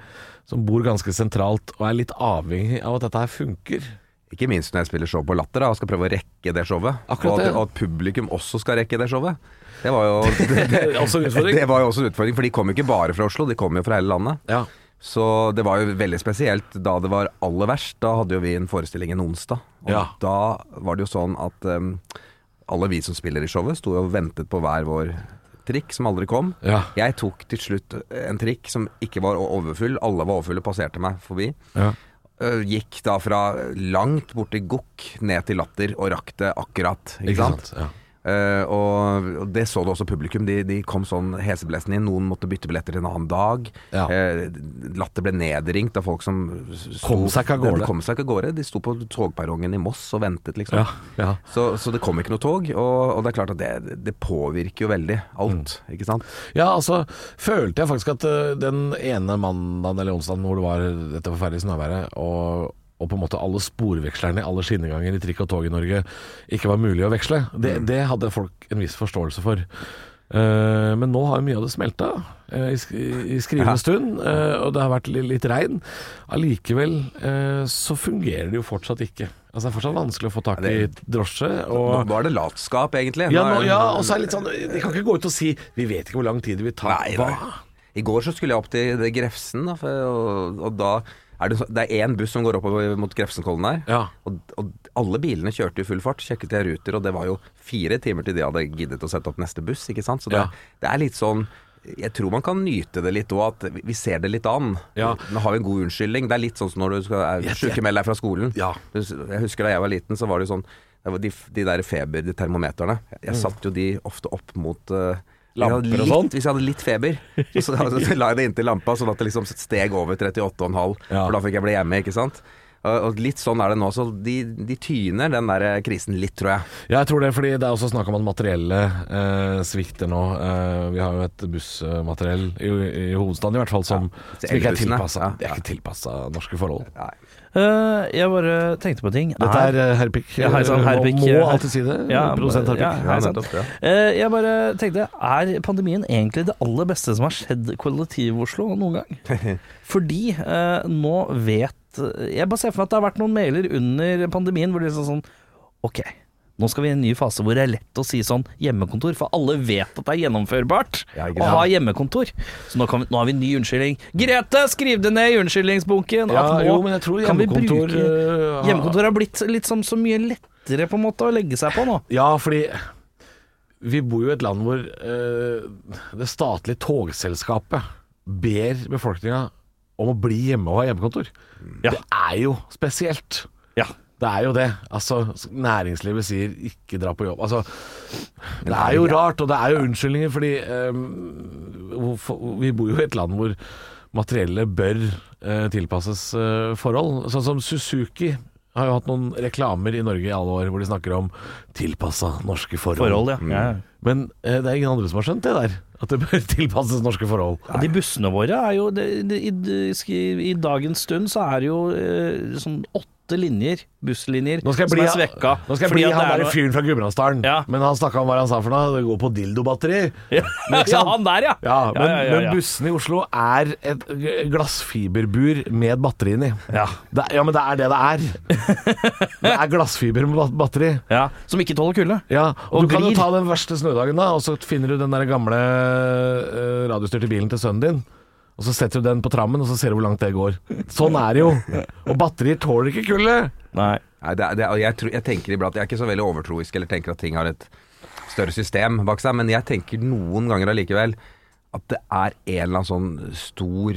Speaker 2: som bor ganske sentralt og er litt avhengig av at dette her funker.
Speaker 5: Ikke minst når jeg spiller show på Latter da, og skal prøve å rekke det showet.
Speaker 2: Akkurat
Speaker 5: og, at,
Speaker 2: det.
Speaker 5: og at publikum også skal rekke det showet. Det var jo det,
Speaker 2: Også en utfordring.
Speaker 5: Det var jo også en utfordring, for de kom jo ikke bare fra Oslo, de kom jo fra hele landet. Så det var jo veldig spesielt da det var aller verst. Da hadde jo vi en forestilling en onsdag. Og
Speaker 2: Ja.
Speaker 5: da var det jo sånn at em, alle vi som spiller i showet, sto og ventet på hver vår trikk som aldri kom.
Speaker 2: Ja.
Speaker 5: Jeg tok til slutt eh, en trikk som ikke var overfull. Alle var overfulle, passerte meg forbi.
Speaker 2: Ja.
Speaker 5: Øh, Gikk da fra langt borti Gokk ned til Latter og rakk det akkurat. Ikke,
Speaker 2: Ikke
Speaker 5: sant?
Speaker 2: sant, ja.
Speaker 5: Eh, og, og det så du også publikum. De, de kom sånn heseblesende inn. Noen måtte bytte billetter en annen dag.
Speaker 2: Ja.
Speaker 5: Eh, latter ble nedringt av folk som sto-
Speaker 2: Kom seg ikke av gårde.
Speaker 5: De kom seg ikke av gårde. De sto på togperrongen i Moss og ventet, liksom.
Speaker 2: Ja, ja.
Speaker 5: Så, så det kom ikke noe tog. Og, og det er klart at det, det påvirker jo veldig alt,
Speaker 4: Mm.
Speaker 5: ikke sant.
Speaker 2: Ja, altså følte jeg faktisk at eh, den ene mandagen eller onsdagen hvor det var dette forferdelige snøværet, og, og på en måte alle sporvekslerne i alle skinneganger i trikk og tog i Norge ikke var mulig å veksle, det,
Speaker 5: Mm.
Speaker 2: det hadde folk en viss forståelse for. Eh, men nå har jo mye av det smelta eh, i, sk- i skrivende
Speaker 5: Ja.
Speaker 2: stund, eh, og det har vært li- litt regn. Allikevel eh, så fungerer det jo fortsatt ikke. Altså Det er fortsatt vanskelig å få tak i drosje. Og
Speaker 5: Nå var det latskap, egentlig. Nå
Speaker 2: ja,
Speaker 5: er
Speaker 2: nå,
Speaker 5: det-
Speaker 2: ja, og så er det litt sånn De kan ikke gå ut og si 'vi vet ikke hvor lang tid det vil ta'.
Speaker 5: Nei,
Speaker 2: Hva?
Speaker 5: nei. I går så skulle jeg opp til det Grefsen, da, for, og, og da er det, så- det er én buss som går oppover mot Grefsenkollen der.
Speaker 2: Ja.
Speaker 5: Og, og alle bilene kjørte i full fart, sjekket jeg ruter, og det var jo fire timer til de hadde giddet å sette opp neste buss, ikke sant. Så det,
Speaker 2: Ja.
Speaker 5: det er litt sånn jeg tror man kan nyte det litt òg, at vi- vi ser det litt an.
Speaker 2: Ja.
Speaker 5: Nå har vi en god unnskyldning. Det er litt sånn som når du skal er
Speaker 2: Jeg- jeg-
Speaker 5: sjukemelde deg fra skolen.
Speaker 2: Ja.
Speaker 5: Du s- Jeg husker da jeg var liten, så var det jo sånn det var de, de der feber, de termometerne. Jeg satte jo de ofte opp mot eh,
Speaker 2: Mm. Lamper
Speaker 5: hvis jeg hadde
Speaker 2: og sånn?
Speaker 5: litt- Hvis jeg hadde litt feber, så, så, så la jeg det inntil lampa, sånn at det liksom steg over 38,5.
Speaker 2: Ja.
Speaker 5: For da fikk jeg bli hjemme, ikke sant. Og og litt sånn er det nå. Så de, de tyner den der
Speaker 6: eh,
Speaker 5: krisen litt, tror jeg.
Speaker 2: Ja, jeg tror det, fordi det er også snakk om at materiellet eh, svikter nå. Eh, vi har jo et bussmateriell i, i hovedstaden i hvert fall som,
Speaker 5: så
Speaker 2: som ikke er
Speaker 5: elbussene.
Speaker 2: tilpassa.
Speaker 5: Ja.
Speaker 2: Det er ikke tilpassa norske forhold.
Speaker 4: Eh, jeg bare tenkte på en ting.
Speaker 2: Dette er eh, herr Pick.
Speaker 4: Ja, hei sann, herr Pick.
Speaker 2: Man må
Speaker 4: Her-
Speaker 2: alltid si det.
Speaker 4: Ja,
Speaker 2: Produsent herr
Speaker 4: ja,
Speaker 2: Pick.
Speaker 4: hei sann.
Speaker 5: nettopp, ja.
Speaker 4: Eh, Jeg bare tenkte, er pandemien egentlig det aller beste som har skjedd kollektiv-Oslo noen gang? Fordi eh, nå vet Jeg bare ser for meg at det har vært noen mailer under pandemien hvor det er sånn, sånn Ok, nå skal vi i en ny fase hvor det er lett å si sånn hjemmekontor, for alle vet at det er gjennomførbart
Speaker 5: Ja, ikke
Speaker 4: å
Speaker 5: sant?
Speaker 4: ha hjemmekontor. Så nå, kan vi, nå har vi en ny unnskyldning. Grete, skriv det ned i unnskyldningsbunken!
Speaker 2: Ja,
Speaker 4: at nå
Speaker 2: jo, men jeg tror
Speaker 4: kan vi bruke-
Speaker 2: hjemmekontor eh, har-
Speaker 4: Hjemmekontor har blitt litt sånn så mye lettere på en måte å legge seg på nå.
Speaker 2: Ja, fordi vi bor jo i et land hvor eh, det statlige togselskapet ber befolkninga om å bli hjemme og ha hjemmekontor. Det er jo spesielt.
Speaker 4: Ja.
Speaker 2: Det er jo det. Altså, næringslivet sier 'ikke dra på jobb'. Altså, det er jo rart, og det er jo unnskyldninger, fordi eh, hvorfor- vi bor jo i et land hvor materiellet bør eh, tilpasses eh, forhold. Sånn som Suzuki har jo hatt noen reklamer i Norge i alle år hvor de snakker om tilpassa norske forhold. Mm.
Speaker 4: Forhold, ja. ja.
Speaker 2: Men eh, det er ingen andre som har skjønt det der, at det bør tilpasses norske forhold.
Speaker 4: Og de bussene våre er jo det, det, i, i, I dagens stund så er det jo eh, sånn åtte åtte linjer, busslinjer,
Speaker 2: Nå skal jeg bli,
Speaker 4: som er svekka.
Speaker 2: nå skal jeg
Speaker 4: fordi
Speaker 2: bli
Speaker 4: at det
Speaker 2: han
Speaker 4: er
Speaker 2: der
Speaker 4: noe-
Speaker 2: fyren fra Gudbrandsdalen.
Speaker 4: Ja.
Speaker 2: Men han snakka om hva han sa for noe. Det går på dildobatterier.
Speaker 4: Ja,
Speaker 2: Men ikke
Speaker 4: ja,
Speaker 2: sant?
Speaker 4: han der, ja!
Speaker 2: Ja, men,
Speaker 4: ja, ja, ja.
Speaker 2: men bussene i Oslo er et glassfiberbur med et batteri inni.
Speaker 4: Ja.
Speaker 2: Det, er- ja, men det er det det er. Det er glassfiber med bat- batteri.
Speaker 4: Ja, Som ikke tåler kulde.
Speaker 2: Ja, og
Speaker 4: Og
Speaker 2: Du kan jo
Speaker 4: vrir.
Speaker 2: ta den verste snødagen, da, og så finner du den der gamle eh, radiostyrte bilen til sønnen din. Og Så setter du den på trammen, og så ser du hvor langt det går. Sånn er det jo. Og batterier tåler ikke kulde.
Speaker 4: Nei.
Speaker 6: Nei, det, er- det, er- og jeg, tror, jeg tenker iblant Jeg er ikke så veldig overtroisk eller tenker at ting har et større system bak seg, men jeg tenker noen ganger allikevel at det er en eller annen sånn stor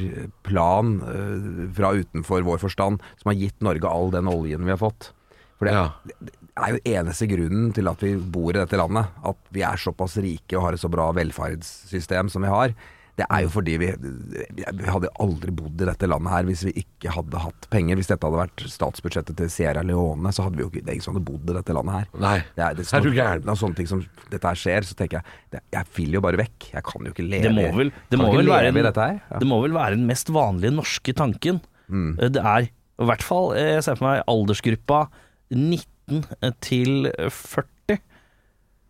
Speaker 6: plan eh, fra utenfor vår forstand som har gitt Norge all den oljen vi har fått. For det,
Speaker 2: Ja.
Speaker 6: det er jo eneste grunnen til at vi bor i dette landet. At vi er såpass rike og har et så bra velferdssystem som vi har. Det er jo fordi vi, vi hadde aldri bodd i dette landet her hvis vi ikke hadde hatt penger. Hvis dette hadde vært statsbudsjettet til Sierra Leone, så hadde vi jo ikke, det er ingen som hadde bodd i dette landet her.
Speaker 2: Nei.
Speaker 6: Det er, det
Speaker 2: Er du gæren?
Speaker 6: Når sånne ting som dette her skjer, så tenker jeg det, Jeg vil jo bare vekk. Jeg kan jo ikke leve,
Speaker 4: Det må vel, det
Speaker 6: kan
Speaker 4: må
Speaker 6: ikke
Speaker 4: vel være
Speaker 6: leve i
Speaker 4: den,
Speaker 6: dette her. Ja. Mm.
Speaker 4: det må vel være den mest vanlige norske tanken. Eh, Det er i hvert fall eh, Jeg ser for meg aldersgruppa 19 til 40.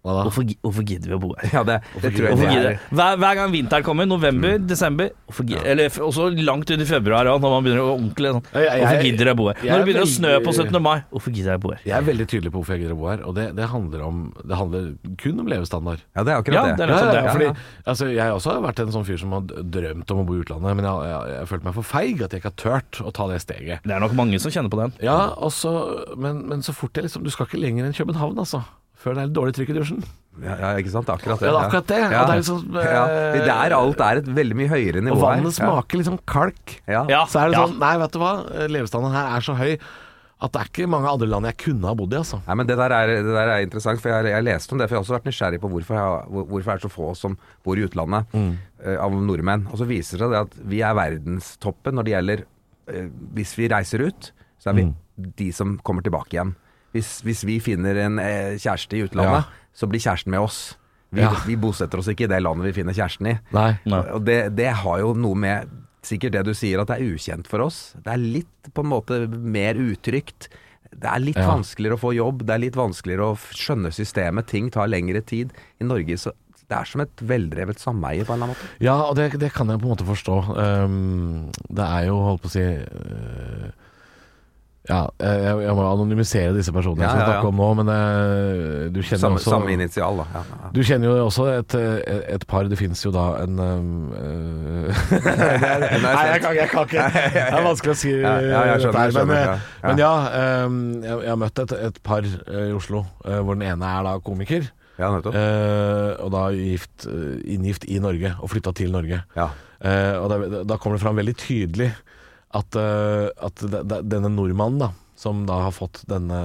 Speaker 2: Hva da?
Speaker 4: Hvorfor, gi- hvorfor gidder vi å bo her?
Speaker 6: Ja, det, det tror jeg
Speaker 4: Hvorfor
Speaker 6: det
Speaker 4: gidder
Speaker 6: er. Mm.
Speaker 4: hver, hver gang vinteren kommer, november, desember hvorfor gi- Eller f- også langt ut i februar, ja, når man begynner å ordentlig sånn,
Speaker 2: Jeg- jeg-
Speaker 4: Hvorfor gidder jeg å bo her?
Speaker 2: jeg
Speaker 4: Når det
Speaker 2: er
Speaker 4: begynner å snø på
Speaker 2: veldig-
Speaker 4: 17. mai, hvorfor gidder jeg å bo her?
Speaker 2: Jeg er veldig tydelig på hvorfor jeg gidder å bo her, og det, det, handler, om, det handler kun om levestandard.
Speaker 6: Ja, det er akkurat
Speaker 4: Ja,
Speaker 6: det.
Speaker 4: det er nettopp
Speaker 2: ja,
Speaker 4: det.
Speaker 2: Sånn, Fordi,
Speaker 6: Ja,
Speaker 2: altså, jeg også har vært en sånn fyr som har d- drømt om å bo i utlandet, men jeg, jeg, jeg følte meg for feig at jeg ikke har turt å ta det steget.
Speaker 4: Det er nok mange som kjenner på den.
Speaker 2: Ja, og så- men, men så fort jeg liksom Du skal ikke lenger enn København, altså. Før det er litt dårlig trykk i dusjen.
Speaker 6: Ja, ja, ikke sant? Det er akkurat det.
Speaker 2: Ja, det er akkurat det. Og det er liksom, eh,
Speaker 6: ja. Det der alt er et veldig mye høyere nivå
Speaker 2: Og vannet
Speaker 6: her.
Speaker 2: smaker liksom kalk.
Speaker 6: Ja. Ja.
Speaker 4: Ja,
Speaker 2: Så er det
Speaker 4: ja.
Speaker 2: sånn Nei, vet du hva. Levestandarden her er så høy at det er ikke mange andre land jeg kunne ha bodd i, altså.
Speaker 6: Nei, men det der, er, det der er interessant, for jeg, jeg leste om det. For jeg har også vært nysgjerrig på hvorfor, jeg, hvor- hvorfor det er så få som bor i utlandet eh, av nordmenn. Og så viser det seg det at vi er verdenstoppen når det gjelder eh, Hvis vi reiser ut, så er vi de som kommer tilbake igjen. Hvis, hvis vi finner en eh, kjæreste i
Speaker 2: Ja.
Speaker 6: utlandet, så blir kjæresten med oss. Vi,
Speaker 2: Ja.
Speaker 6: vi bosetter oss ikke i det landet vi finner kjæresten i.
Speaker 2: Nei.
Speaker 4: Nei.
Speaker 6: Og det, det har jo noe med sikkert det du sier, at det er ukjent for oss. Det er litt på en måte mer utrygt. Det er litt
Speaker 2: Ja.
Speaker 6: vanskeligere å få jobb, det er litt vanskeligere å f- skjønne systemet. Ting tar lengre tid. I Norge så det er som et veldrevet sameie, på en eller annen måte.
Speaker 2: Ja, og det, det kan jeg på en måte forstå. Ehm, det er jo, holdt på å si eh, Ja, eh, jeg, jeg må anonymisere disse personene
Speaker 6: Ja,
Speaker 2: som jeg
Speaker 6: ja, ja.
Speaker 2: snakker om nå, men eh, du kjenner
Speaker 6: Samme,
Speaker 2: også
Speaker 6: samme initial, da. Ja, ja.
Speaker 2: Du kjenner jo også et, eh, et par. Det finnes jo da en ehm, eh, Nei, jeg kan, jeg kan ikke. Det er vanskelig å si
Speaker 6: Ja, ja, jeg skjønner,
Speaker 2: dette her,
Speaker 6: skjønner,
Speaker 2: men, eh,
Speaker 6: ja, ja.
Speaker 2: men ja, ehm, jeg, jeg har møtt et, et par eh, i Oslo eh, hvor den ene er da komiker.
Speaker 6: ja, nettopp.
Speaker 2: eh, og da gift, eh, inngift i Norge, og flytta til Norge.
Speaker 6: Ja.
Speaker 2: Eh, og da, da kommer det fram veldig tydelig at, eh, at de- de- denne nordmannen da som da har fått denne,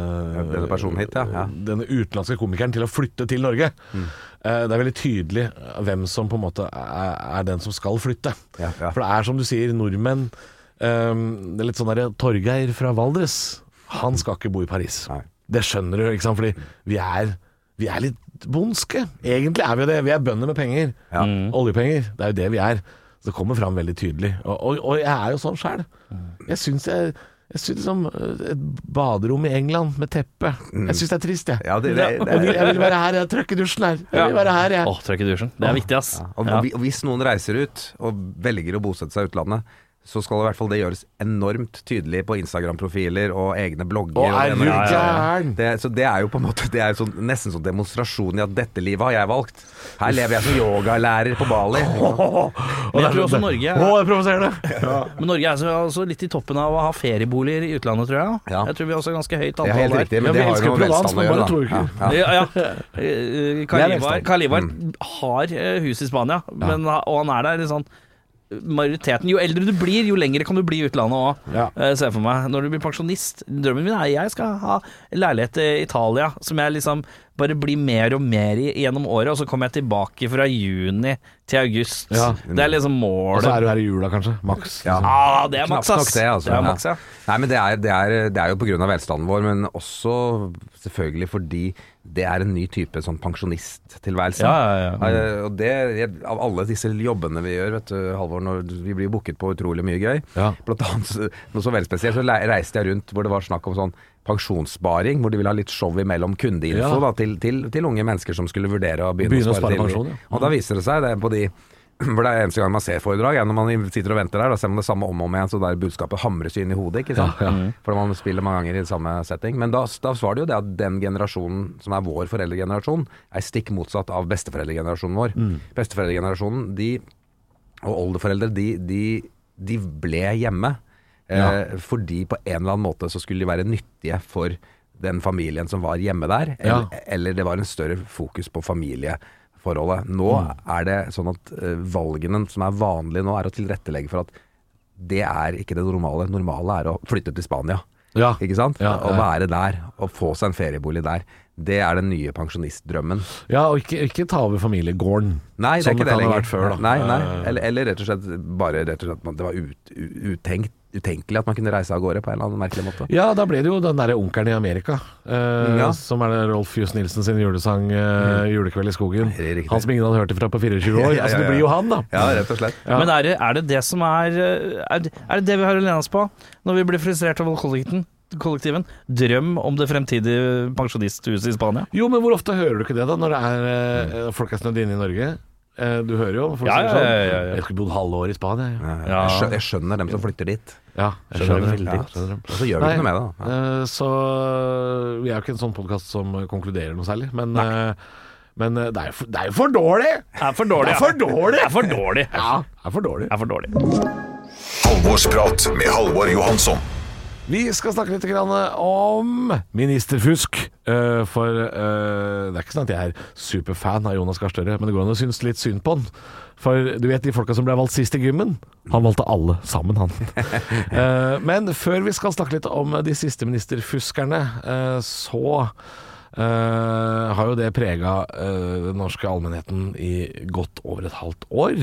Speaker 6: denne personen hit, ja, Mm. ja.
Speaker 2: denne utenlandske komikeren til å flytte til Norge. Eh, Det er veldig tydelig hvem som på en måte er, er den som skal flytte.
Speaker 6: Ja, ja.
Speaker 2: For det er som du sier, nordmenn eh, Det er litt sånn derre Torgeir fra Valdres, han skal ikke bo i Paris.
Speaker 6: Nei.
Speaker 2: Det skjønner du, ikke sant? Fordi vi er, vi er litt bondske. Egentlig er vi jo det. Vi er bønder med penger. Mm.
Speaker 6: Ja.
Speaker 2: Oljepenger. Det er jo det vi er. Så det kommer fram veldig tydelig. Og, og, og jeg er jo sånn sjæl.
Speaker 6: Mm.
Speaker 2: Jeg syns jeg jeg synes liksom eh, Et baderom i England med teppe
Speaker 6: Mm.
Speaker 2: Jeg syns det er trist, jeg.
Speaker 6: Ja, det- det- det-
Speaker 2: jeg, vil, jeg vil være her, jeg. Trøkk i dusjen her. Jeg vil være her, jeg.
Speaker 4: Åh, trekk i dusjen. Det er viktig, ass.
Speaker 6: Og, og
Speaker 4: Ja.
Speaker 6: vi- og hvis noen reiser ut og velger å bosette seg i utlandet, så skal i hvert fall det gjøres enormt tydelig på Instagram-profiler og egne blogger.
Speaker 2: Å, er
Speaker 6: det
Speaker 2: du
Speaker 6: ene- Ja, ja, ja.
Speaker 2: gæren?
Speaker 6: Det, så det er jo på en måte Det er jo sånn, nesten sånn demonstrasjon i at dette livet har jeg valgt. Her lever jeg som yogalærer på Bali.
Speaker 2: Og
Speaker 4: Men jeg
Speaker 2: det er
Speaker 4: tror også
Speaker 2: sånn-
Speaker 4: Norge
Speaker 2: Å,
Speaker 4: er,
Speaker 2: det er provoserende!
Speaker 4: men Norge er så, altså litt i toppen av å ha ferieboliger i utlandet, tror jeg.
Speaker 6: Ja.
Speaker 4: Jeg tror vi også har ganske høyt
Speaker 6: Det er
Speaker 4: antall
Speaker 6: helt
Speaker 4: der.
Speaker 6: riktig,
Speaker 2: Ja,
Speaker 6: men
Speaker 2: vi
Speaker 6: det har
Speaker 2: elsker
Speaker 6: jo noe med
Speaker 2: Provence,
Speaker 6: velstand å
Speaker 2: man bare
Speaker 6: gjøre.
Speaker 2: tror
Speaker 6: da.
Speaker 2: ikke.
Speaker 6: Ja, Mm. ja.
Speaker 4: Ja, ja. Eh, Karl
Speaker 2: Det er
Speaker 4: Ivar,
Speaker 2: velstand.
Speaker 4: Karl Ivar har eh, hus i Spania, men, ha- og han er der litt sånn Majoriteten, Jo eldre du blir, jo lenger kan du bli i utlandet òg,
Speaker 2: Ja.
Speaker 4: ser jeg for meg. Når du blir pensjonist Drømmen min er jeg skal ha leilighet i Italia, som jeg liksom bare bli mer og mer i, gjennom året, og så kommer jeg tilbake fra juni til august.
Speaker 2: Ja.
Speaker 4: Det er liksom
Speaker 2: Og
Speaker 4: målet.
Speaker 2: så er du her i jula, kanskje. liksom. Maks.
Speaker 6: Ja.
Speaker 4: Ah, det er
Speaker 6: Knapt
Speaker 4: maks, ass.
Speaker 6: nok det, altså.
Speaker 4: Det er maks, ja.
Speaker 6: Nei, men det er, det er, det er jo pga. velstanden vår, men også selvfølgelig fordi det er en ny type sånn pensjonisttilværelse.
Speaker 4: Ja, ja, ja.
Speaker 6: Eh, Og det, jeg- av alle disse jobbene vi gjør, vet du, Halvor, når vi blir booket på utrolig mye gøy.
Speaker 2: Ja.
Speaker 6: Blant annet så- noe så veldig spesielt, så le- reiste jeg rundt hvor det var snakk om sånn pensjonssparing, hvor de ville ha litt show imellom kundeinfo
Speaker 2: Ja.
Speaker 6: da, til, til, til unge mennesker som skulle vurdere å begynne,
Speaker 2: Begynne
Speaker 6: å spare, til-
Speaker 2: pensjon, ja.
Speaker 6: Og da viser det seg, det er på de for det er eneste gang man ser foredrag, er når man sitter og venter der, da ser man det samme om og om igjen, så der budskapet hamres inn i hodet, ikke sant.
Speaker 4: Mm.
Speaker 6: For man spiller mange ganger i samme setting. Men da, da var det jo det at den generasjonen som er vår foreldregenerasjon, er stikk motsatt av besteforeldregenerasjonen vår.
Speaker 2: Mm.
Speaker 6: Besteforeldregenerasjonen, de og oldeforeldre, de, de, de ble hjemme. Eh, fordi på en eller annen måte så skulle de være nyttige for den familien som var hjemme der. Eller, eller det var en større fokus på familieforholdet. Nå
Speaker 2: Mm.
Speaker 6: er det sånn at eh, valgene som er vanlige nå, er å tilrettelegge for at det er ikke det normale. Det normale er å flytte til Spania.
Speaker 2: Ja.
Speaker 6: Ikke sant?
Speaker 2: Ja,
Speaker 6: Å
Speaker 2: ja.
Speaker 6: være der, og få seg en feriebolig der. Det er den nye pensjonistdrømmen.
Speaker 2: Ja, og ikke, ikke ta over familiegården.
Speaker 6: Nei, det er
Speaker 2: Som
Speaker 6: ikke det,
Speaker 2: kan ha
Speaker 6: lenger.
Speaker 2: vært før, da.
Speaker 6: Nei, nei.
Speaker 2: Eh,
Speaker 6: Eller, eller rett og slett bare rett og slett, at det var ut, u- utenkt, utenkelig at man kunne reise av gårde på en eller annen merkelig måte.
Speaker 2: Ja, da ble det jo den derre onkelen i Amerika, eh,
Speaker 6: Ja. Mm.
Speaker 2: som er det Rolf Johs Nilsen sin julesang eh, 'Julekveld i skogen'.
Speaker 6: Det er riktig.
Speaker 2: Han som ingen hadde hørt ifra på 24 år.
Speaker 6: ja,
Speaker 2: Altså,
Speaker 6: ja.
Speaker 2: det blir jo han, da.
Speaker 6: Ja, rett og slett.
Speaker 2: Ja.
Speaker 4: Men er det, er det det som er eh, Er det er det, det vi har å lene oss på når vi blir frustrert over kollektiven? kollektiven? Drøm om det fremtidige pensjonisthuset i Spania?
Speaker 2: Jo, men hvor ofte hører du ikke det, da, når det er eh,
Speaker 6: Mm.
Speaker 2: folk er snudd inne i Norge? Eh, du hører jo folk
Speaker 4: Ja,
Speaker 2: sier sånn
Speaker 4: ja, ja, ja, ja.
Speaker 2: Jeg skulle bodd halve året i Spania. jeg».
Speaker 4: Ja.
Speaker 6: Jeg, skjønner, jeg skjønner dem som flytter dit.
Speaker 2: Ja, jeg
Speaker 6: Skjønner
Speaker 2: skjønner.
Speaker 6: veldig.
Speaker 2: Ja, skjønner.
Speaker 6: Og så gjør vi ikke noe med det. da.
Speaker 2: Eh, Så vi er jo ikke en sånn podkast som konkluderer noe særlig, men, eh, men eh, det, er jo for, det er jo for dårlig!
Speaker 4: Det er for dårlig.
Speaker 2: Det er for dårlig.
Speaker 4: Det er for dårlig.
Speaker 2: Ja, det er for dårlig.
Speaker 4: Det er for dårlig.
Speaker 7: Halvorsprat med Halvor Johansson.
Speaker 2: Vi skal snakke litt grann om ministerfusk. eh, For eh, det er ikke sånn at jeg er superfan av Jonas Gahr Støre, men det går an å synes litt synd på han. For du vet de folka som ble valgt sist i gymmen? Han valgte alle sammen, han. Eh, Men før vi skal snakke litt om de siste ministerfuskerne, eh, så eh, har jo det prega den norske allmennheten i godt over et halvt år.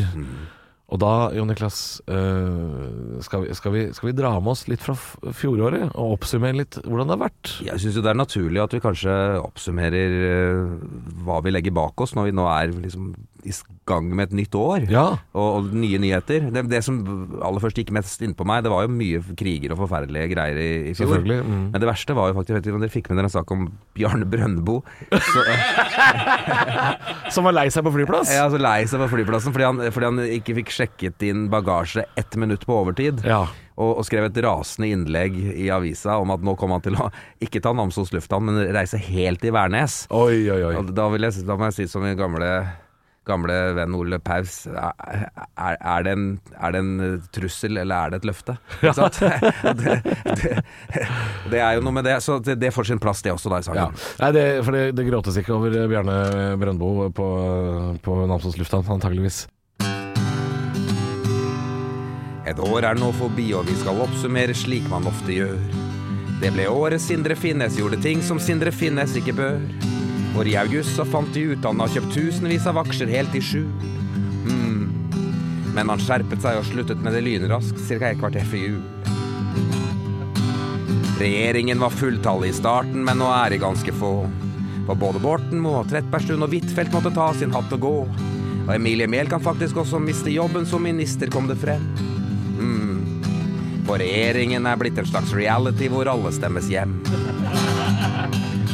Speaker 2: Og da, Jon Niklas, eh, skal, vi, skal, vi, skal vi dra med oss litt fra f- fjoråret og oppsummere litt hvordan det har vært?
Speaker 6: Jeg syns jo det er naturlig at vi kanskje oppsummerer eh, hva vi legger bak oss når vi nå er liksom i s- gang med et nytt år.
Speaker 2: Ja.
Speaker 6: Og, og nye nyheter. Det, det som aller først gikk mest innpå meg, det var jo mye kriger og forferdelige greier i, i fjor.
Speaker 2: Selvfølgelig, mm.
Speaker 6: Men det verste var jo faktisk, jeg vet ikke om dere fikk med dere en sak om Bjarne Brøndbo. Så,
Speaker 2: Som var lei seg på flyplass?
Speaker 6: Jeg er altså lei seg på flyplassen fordi han, fordi han ikke fikk sjekket inn bagasje ett minutt på overtid.
Speaker 2: Ja.
Speaker 6: Og, og skrev et rasende innlegg i avisa om at nå kom han til å ikke ta Namsos lufthavn, men reise helt til Værnes.
Speaker 2: Oi, oi, oi.
Speaker 6: Og da, vil jeg, da må jeg si som min gamle, gamle venn Ole Paus er, er, er, det en, er det en eh, trussel, eller er det et løfte? Ikke sant? det, det, det er jo noe med det. Så det, det får sin plass, det også, da, i
Speaker 2: Ja.
Speaker 6: sangen.
Speaker 2: Nei, det, for det, det gråtes ikke over eh, Bjarne Brøndbo på, på Namsos lufthavn, antageligvis.
Speaker 6: Et år er nå forbi, og vi skal oppsummere slik man ofte gjør. Det ble året Sindre Finnes gjorde ting som Sindre Finnes ikke bør. For i august så fant de ut han har kjøpt tusenvis av aksjer helt i skjul. Mm. Men han skjerpet seg og sluttet med det lynraskt ca. et kvarter før jul. Regjeringen var fulltallig i starten, men nå er de ganske få. For både Bortenmoe, Trettebergstuen og Huitfeldt måtte ta sin hatt og gå. Og Emilie Mehl kan faktisk også miste jobben som minister, kom det frem. Mm. For regjeringen er blitt en slags reality hvor alle stemmes hjem.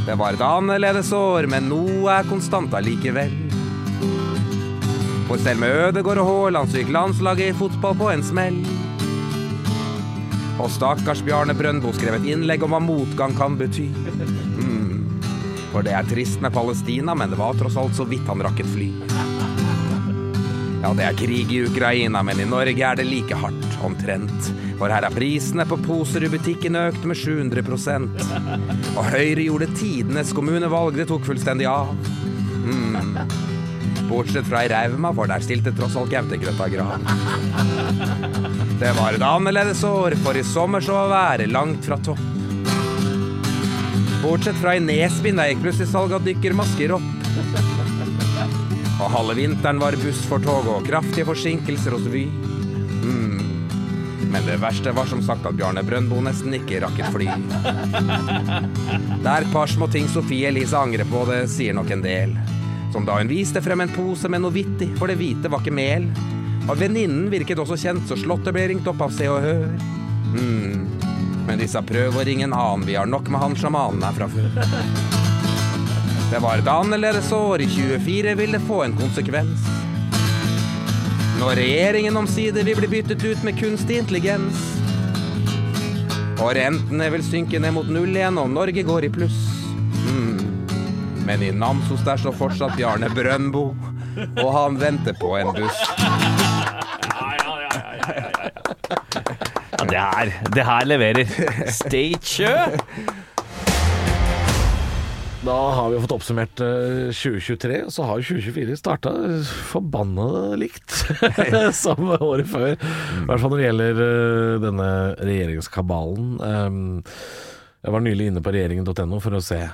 Speaker 6: Det var et annerledes år, men noe er konstant allikevel. For selv med Ødegaard og Haaland så gikk landslaget i fotball på en smell. Og stakkars Bjarne Brøndbo skrev et innlegg om hva motgang kan bety. Mm. For det er trist med Palestina, men det var tross alt så vidt han rakk et fly. Ja, det er krig i Ukraina, men i Norge er det like hardt, omtrent. For her er prisene på poser i butikken økt med 700 Og Høyre gjorde tidenes kommunevalg, det tok fullstendig av. Mm. Bortsett fra i Rauma, for der stilte tross alt Gautegrøtta grav. Det var et annerledes år, for i sommer så var været langt fra topp.
Speaker 5: Bortsett fra i Nesbyen, der gikk plutselig salget av dykkermasker opp. Og halve vinteren var buss for tog og kraftige forsinkelser hos Vy. Mm. Men det verste var som sagt at Bjarne Brøndbo nesten ikke rakk et fly. Det er et par små ting Sofie Elise angrer på, det sier nok en del. Som da hun viste frem en pose med noe vittig, for det hvite var ikke mel. Og venninnen virket også kjent, så Slottet ble ringt opp av Se og Hør. Mm. Men disse prøv å ringe en annen, vi har nok med han sjamanen her fra før. Det var et annerledes år, i 24 vil det få en konsekvens. Når regjeringen omsider vil bli byttet ut med kunstig intelligens. Og rentene vil synke ned mot null igjen, og Norge går i pluss. Mm. Men i Namsos der står fortsatt Bjarne Brøndbo, og han venter på en buss.
Speaker 4: Ja, det her, det her leverer. Stage.
Speaker 2: Da har vi fått oppsummert eh, 2023, og så har 2024 starta forbanna likt som året før. I hvert fall når det gjelder eh, denne regjeringskabalen. Ehm, Jeg var nylig inne på regjeringen.no for å se.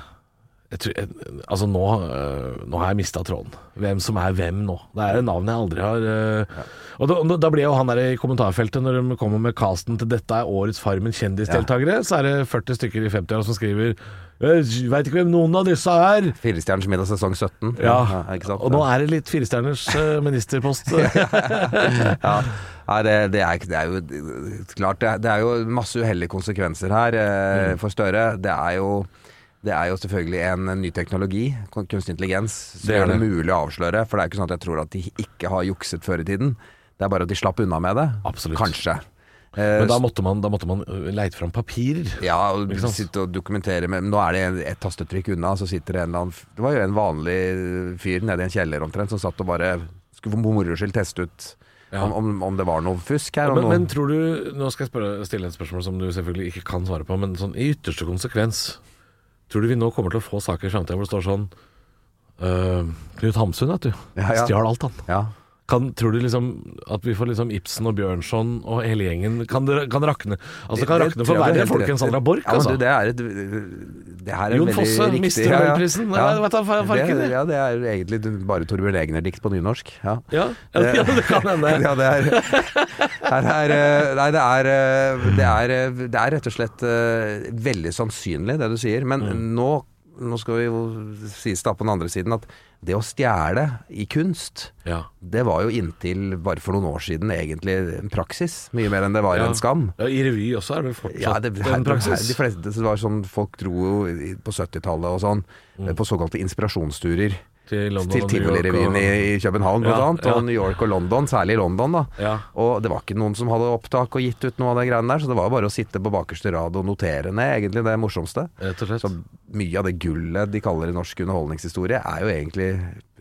Speaker 2: Jeg tror, jeg, altså nå, eh, nå har jeg mista tråden. Hvem som er hvem nå. Det er navn jeg aldri har eh, Og da, da ble jo han der i kommentarfeltet, når de kommer med casten til 'Dette er årets Farmen kjendisdeltakere', så er det 40 stykker i 50-åra som skriver jeg veit ikke hvem noen av disse er.
Speaker 5: Firestjerners middag sesong 17.
Speaker 2: Ja,
Speaker 5: ikke sant?
Speaker 2: Og nå er det litt firestjerners eh, ministerpost.
Speaker 5: ja. Nei, det, det, er, ikke- det er jo det- klart det er, det er jo masse uheldige konsekvenser her eh,
Speaker 2: Mm.
Speaker 5: for Støre. Det er jo det er jo selvfølgelig en ny teknologi, kun- kunstig intelligens, som
Speaker 2: Det er
Speaker 5: gjør det
Speaker 2: det.
Speaker 5: mulig å avsløre. For det er jo ikke sånn at jeg tror at de ikke har jukset før i tiden. Det er bare at de slapp unna med det.
Speaker 2: Absolutt.
Speaker 5: Kanskje. Eh,
Speaker 2: Men da måtte man, da måtte man eh, leite fram papirer.
Speaker 5: ja, og
Speaker 2: Ikke sant?
Speaker 5: sitte og dokumentere med Nå er det et tastetrykk unna, så sitter det en eller annen f- Det var jo en vanlig fyr nede i en kjeller omtrent, som satt og bare skulle for moro skyld teste ut
Speaker 2: Ja.
Speaker 5: om, om, om det var noe fusk her. om
Speaker 2: Men,
Speaker 5: noe-
Speaker 2: men tror du Nå skal jeg spørre, stille et spørsmål som du selvfølgelig ikke kan svare på, men sånn i ytterste konsekvens Tror du vi nå kommer til å få saker i framtida hvor det står sånn eh, Knut Hamsun, vet du.
Speaker 5: Ja, ja.
Speaker 2: Stjal alt, han.
Speaker 5: ja.
Speaker 2: Kan, tror du liksom at vi får liksom Ibsen og Bjørnson og hele gjengen Kan det kan det rakne? Altså, det kan rakne
Speaker 5: tror
Speaker 2: for
Speaker 5: jeg du
Speaker 2: verre
Speaker 5: har helt
Speaker 2: folk
Speaker 5: rett
Speaker 2: enn
Speaker 5: i.
Speaker 2: Sandra Borch,
Speaker 5: ja, men
Speaker 2: altså.
Speaker 5: du, det er et det her er
Speaker 2: Jon
Speaker 5: veldig
Speaker 2: Fosse
Speaker 5: riktig.
Speaker 2: mister Nobelprisen. Nei, vet du, fa- farken,
Speaker 5: det,
Speaker 2: det.
Speaker 5: ja, det er egentlig bare Torbjørn Egner-dikt på nynorsk. Ja.
Speaker 2: Ja, ja, det, ja, det kan hende.
Speaker 5: ja, det er, her er eh, Nei, det er, eh, det er eh, Det er rett og slett eh, veldig sannsynlig, det du sier. Men nå, nå skal vi jo sies da på den andre siden at det å stjele i kunst
Speaker 2: Ja.
Speaker 5: det var jo inntil bare for noen år siden egentlig en praksis, mye mer enn det var
Speaker 2: Ja.
Speaker 5: en skam.
Speaker 2: Ja, I revy også er det fortsatt
Speaker 5: Ja, det,
Speaker 2: en praksis.
Speaker 5: de fleste det var sånn, Folk dro jo i- på 70-tallet og sånn på såkalte inspirasjonsturer.
Speaker 2: Til Mm. London
Speaker 5: til
Speaker 2: og New York
Speaker 5: Tivolirevyen
Speaker 2: og-
Speaker 5: i, i København blant
Speaker 2: Ja,
Speaker 5: annet, og
Speaker 2: ja.
Speaker 5: New York og London, særlig i London. da
Speaker 2: Ja.
Speaker 5: Og det var ikke noen som hadde opptak og gitt ut noe av de greiene der, så det var jo bare å sitte på bakerste rad og notere ned egentlig det morsomste.
Speaker 2: Rett og slett.
Speaker 5: Så mye av det gullet de kaller i norsk underholdningshistorie, er jo egentlig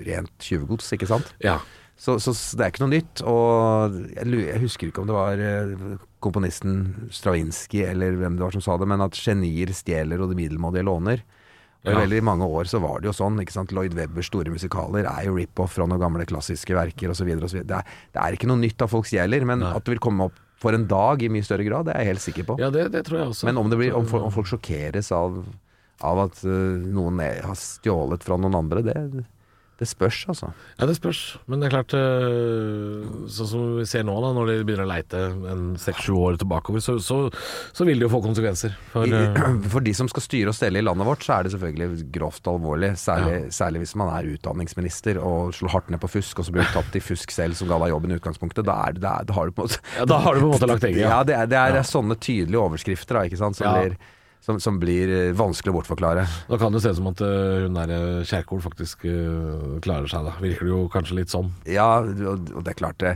Speaker 5: rent tjuvgods, ikke sant?
Speaker 2: Ja.
Speaker 5: Så, så s- det er ikke noe nytt. Og jeg, lu- jeg husker ikke om det var eh, komponisten Stravinskij eller hvem det var som sa det, men at genier stjeler og det middelmådige låner. Og I
Speaker 2: Ja.
Speaker 5: veldig mange år så var det jo sånn. ikke sant? Lloyd Webbers store musikaler er jo rip-off fra noen gamle klassiske verker osv. Det, er- det er ikke noe nytt at folk stjeler, men
Speaker 2: Nei.
Speaker 5: at det vil komme opp for en dag i mye større grad, det er jeg helt sikker på.
Speaker 2: Ja, det, det tror jeg også.
Speaker 5: Men om, det blir, om, fol- om folk sjokkeres av, av at eh, noen er, har stjålet fra noen andre, det, det spørs, altså.
Speaker 2: Ja, det spørs. Men det er klart, eh, sånn som vi ser nå, da, når de begynner å leite en seks-sju år tilbakeover, så, så, så vil det jo få konsekvenser. For, eh,
Speaker 5: I- For de som skal styre og stelle i landet vårt, så er det selvfølgelig grovt alvorlig. Særlig, særlig hvis man er utdanningsminister og slår hardt ned på fusk, og så blir du tatt i fusk selv som ga deg jobben i utgangspunktet. Da, er, det- da, er- da har du på en måte
Speaker 2: ja, da har du på en måte lagt egget.
Speaker 5: Ja,
Speaker 2: Ja.
Speaker 5: det er, det er sånne tydelige overskrifter da, ikke sant, som,
Speaker 2: Ja.
Speaker 5: blir, som, som blir eh, vanskelig å bortforklare.
Speaker 2: Da kan det se ut som at eh, hun der eh, Kjerkol faktisk eh, klarer seg, da. Virker det jo kanskje litt sånn.
Speaker 5: Ja, og, og det er klart det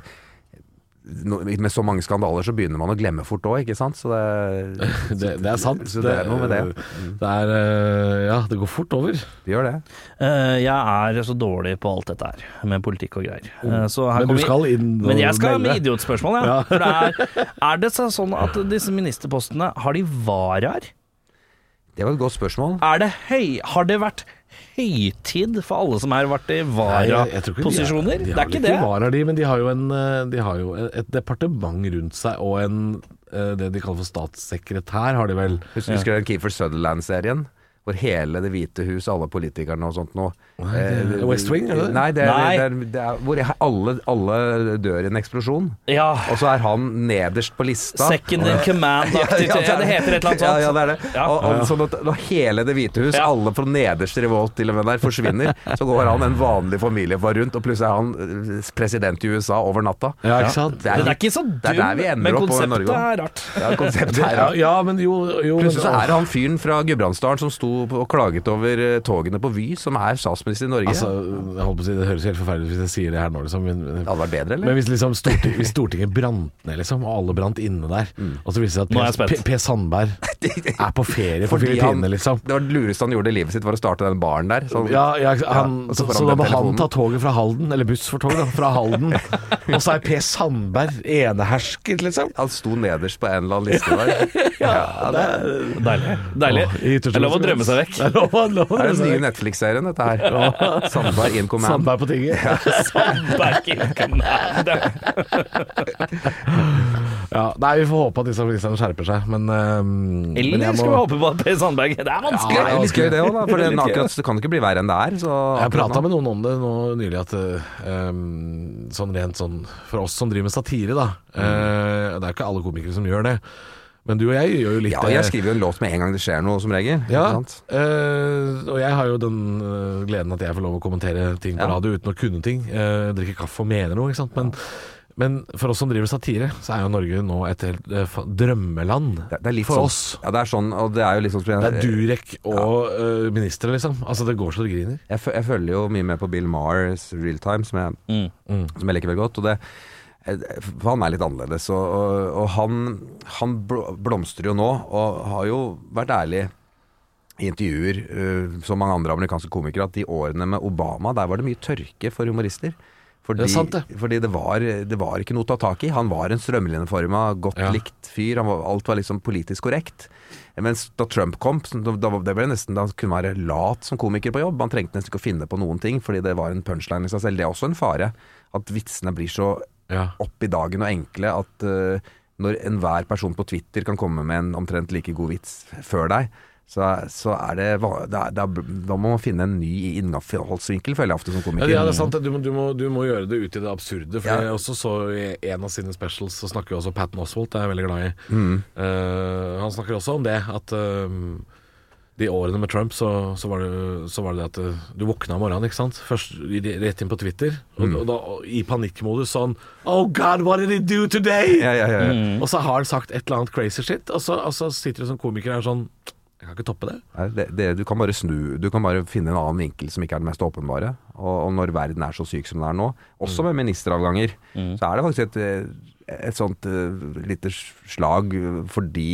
Speaker 5: no, Med så mange skandaler så begynner man å glemme fort òg, ikke sant? Så det,
Speaker 2: Det, det er sant.
Speaker 5: Så det er noe med det. Mm.
Speaker 2: Det er eh, Ja, det går fort over.
Speaker 5: det gjør det.
Speaker 4: Eh, jeg er så dårlig på alt dette her, med politikk og greier. Eh, så her
Speaker 2: Oh. Men du
Speaker 4: kommer-
Speaker 2: skal inn og
Speaker 4: Men jeg skal
Speaker 2: melde.
Speaker 4: med idiotspørsmål, ja. For det er, er det så- sånn at disse ministerpostene, har de varaer?
Speaker 5: Det var et godt spørsmål.
Speaker 4: Er det høy, har det vært høytid for alle som har vært i varaposisjoner?
Speaker 2: De har
Speaker 4: Det er
Speaker 2: vel
Speaker 4: ikke det.
Speaker 2: varer, de, men de har jo, en, eh, de har jo et departement rundt seg, og en, eh, det de kaller for statssekretær, har de vel.
Speaker 5: Husker, husker du den Keefer Sutherland-serien? hvor hele Det hvite hus, alle politikerne og sånt noe
Speaker 2: det er West Wing, er det det?
Speaker 5: Eh, Nei, det er,
Speaker 2: Nei.
Speaker 5: Det er, det er hvor alle, alle dør i en eksplosjon.
Speaker 4: Ja.
Speaker 5: Og så er han nederst på lista.
Speaker 4: Second in command-aktig, tror jeg det heter, et eller annet sånt.
Speaker 5: Ja, ja, det er det.
Speaker 4: Ja.
Speaker 5: Og, og, sånn at når hele Det hvite hus, alle fra nederste nivå til og med der, forsvinner, så går han en vanlig familie bare rundt, og plutselig er han eh, president i USA over natta.
Speaker 2: Ja, ikke sant?
Speaker 5: Det er,
Speaker 4: Den er ikke så
Speaker 5: det er der
Speaker 4: dum,
Speaker 5: vi ender
Speaker 4: men
Speaker 5: opp over
Speaker 4: konseptet
Speaker 5: Norge også.
Speaker 4: er rart.
Speaker 5: Ja, konseptet er
Speaker 2: Ja,
Speaker 5: rart.
Speaker 2: ja, men jo, jo men-
Speaker 5: Plutselig så er det han fyren fra Gudbrandsdalen som sto på- og klaget over eh, togene på Vy, som er statsminister i Norge.
Speaker 2: Altså, jeg holdt på å si, Det høres helt forferdelig ut hvis jeg sier det her nå, liksom. Men,
Speaker 5: det hadde vært bedre,
Speaker 2: men
Speaker 5: eller?
Speaker 2: hvis, liksom Stortinget, hvis Stortinget brant ned, liksom, og alle brant inne der,
Speaker 5: Mm.
Speaker 2: og så viser det
Speaker 4: Nå er jeg
Speaker 2: seg at
Speaker 4: spent.
Speaker 2: P, P, P. Sandberg er på ferie på
Speaker 5: Fordi han-
Speaker 2: Filippinene, liksom.
Speaker 5: Det var det lureste han gjorde i livet sitt, var å starte den baren der. Så,
Speaker 2: Ja, ja, han,
Speaker 5: og
Speaker 2: så,
Speaker 5: får
Speaker 2: så da
Speaker 5: den
Speaker 2: må han
Speaker 5: telefonen.
Speaker 2: ta toget fra Halden, eller buss for tog, da, fra Halden. Og så er Per Sandberg enehersket, liksom.
Speaker 5: Han sto nederst på en eller annen liste der. ja, det er
Speaker 4: Deilig. Deilig.
Speaker 2: Åh, i
Speaker 4: Det er lov å drømme seg vekk.
Speaker 2: Det er lov å lov å
Speaker 5: Det er den
Speaker 2: drømme
Speaker 5: nye
Speaker 2: seg vekk.
Speaker 5: Netflix-serien, dette her. Sandberg in command.
Speaker 2: Sandberg på tinget.
Speaker 4: Back in command.
Speaker 2: Ja, nei, vi får håpe at disse ministrene skjerper seg, men ehm, men
Speaker 4: Eller
Speaker 2: jeg
Speaker 4: skal vi
Speaker 2: må-
Speaker 4: håpe på at Per Sandberg Det er vanskelig!
Speaker 5: Ja, det er litt gøy det òg, da. For det, akkurat, det kan ikke bli verre enn det er. Så
Speaker 2: Jeg
Speaker 5: akkurat
Speaker 2: prata
Speaker 5: nå-
Speaker 2: med noen om det nå nylig, at eh, ehm, sånn rent sånn For oss som driver med satire, da.
Speaker 5: Mm.
Speaker 2: eh, det er ikke alle komikere som gjør det. Men du og jeg gjør jo litt
Speaker 5: Ja,
Speaker 2: det.
Speaker 5: jeg skriver jo en låt med en gang det skjer noe, som regel. ikke
Speaker 2: Ja,
Speaker 5: sant?
Speaker 2: eh, og jeg har jo den eh, gleden at jeg får lov å kommentere ting på
Speaker 5: Ja.
Speaker 2: radio uten å kunne ting. eh, drikke kaffe og mene noe, ikke sant. Men, men for oss som driver satire, så er jo Norge nå et helt eh, fa- drømmeland
Speaker 5: Det, det er litt
Speaker 2: for
Speaker 5: sånn,
Speaker 2: oss.
Speaker 5: Ja, det er sånn, og det er jo liksom
Speaker 2: Det er Durek og eh, ministre, liksom. Altså, det går så det griner.
Speaker 5: jeg, fø- jeg følger jo mye med på Bill Maher's Real Time, som jeg, Som jeg liker veldig godt. Og det, for han er litt annerledes. Og, og, og han, han bl- blomstrer jo nå, og har jo vært ærlig i intervjuer, eh, som mange andre amerikanske komikere, at de årene med Obama, der var det mye tørke for humorister. Fordi
Speaker 2: Det er sant, det.
Speaker 5: fordi det, var, det var ikke noe å ta tak i. Han var en strømlinjeforma, godt
Speaker 2: Ja.
Speaker 5: likt fyr. Han var, alt var liksom politisk korrekt. Mens da Trump kom, så da, da det ble nesten, da han kunne være lat som komiker på jobb. Han trengte nesten ikke å finne på noen ting, fordi det var en punchline i seg selv. Det er også en fare at vitsene blir så
Speaker 2: Ja.
Speaker 5: opp i dagen og enkle at eh, når enhver person på Twitter kan komme med en omtrent like god vits før deg, så, så er det, va- det, er, det er, Da må man finne en ny innholdsvinkel, føler jeg ofte som
Speaker 2: Ja,
Speaker 5: komiker.
Speaker 2: ja, det er sant. Du må, du, må, du må gjøre det ut i det absurde. For
Speaker 5: Ja.
Speaker 2: jeg også så i en av sine specials, så snakker jo også Patton Oswald, det er jeg veldig glad i.
Speaker 5: Mm.
Speaker 2: Eh, han snakker også om det, at ehm, de årene med Trump, så, så, var, det, så var det det at eh, du våkna om morgenen, ikke sant. Først i- rett inn på Twitter, og,
Speaker 5: Mm.
Speaker 2: og da og i panikkmodus sånn Oh God, what did he do today?
Speaker 5: Ja, ja, ja, ja.
Speaker 2: Og så har han sagt et eller annet crazy shit, og så, og så sitter du som komiker og er sånn Jeg kan ikke toppe det.
Speaker 5: Nei, det, det, du kan bare snu Du kan bare finne en annen vinkel som ikke er den mest åpenbare. Og, og når verden er så syk som den er nå, også med ministeravganger, så er det faktisk et, eh, et sånt eh, lite slag eh, fordi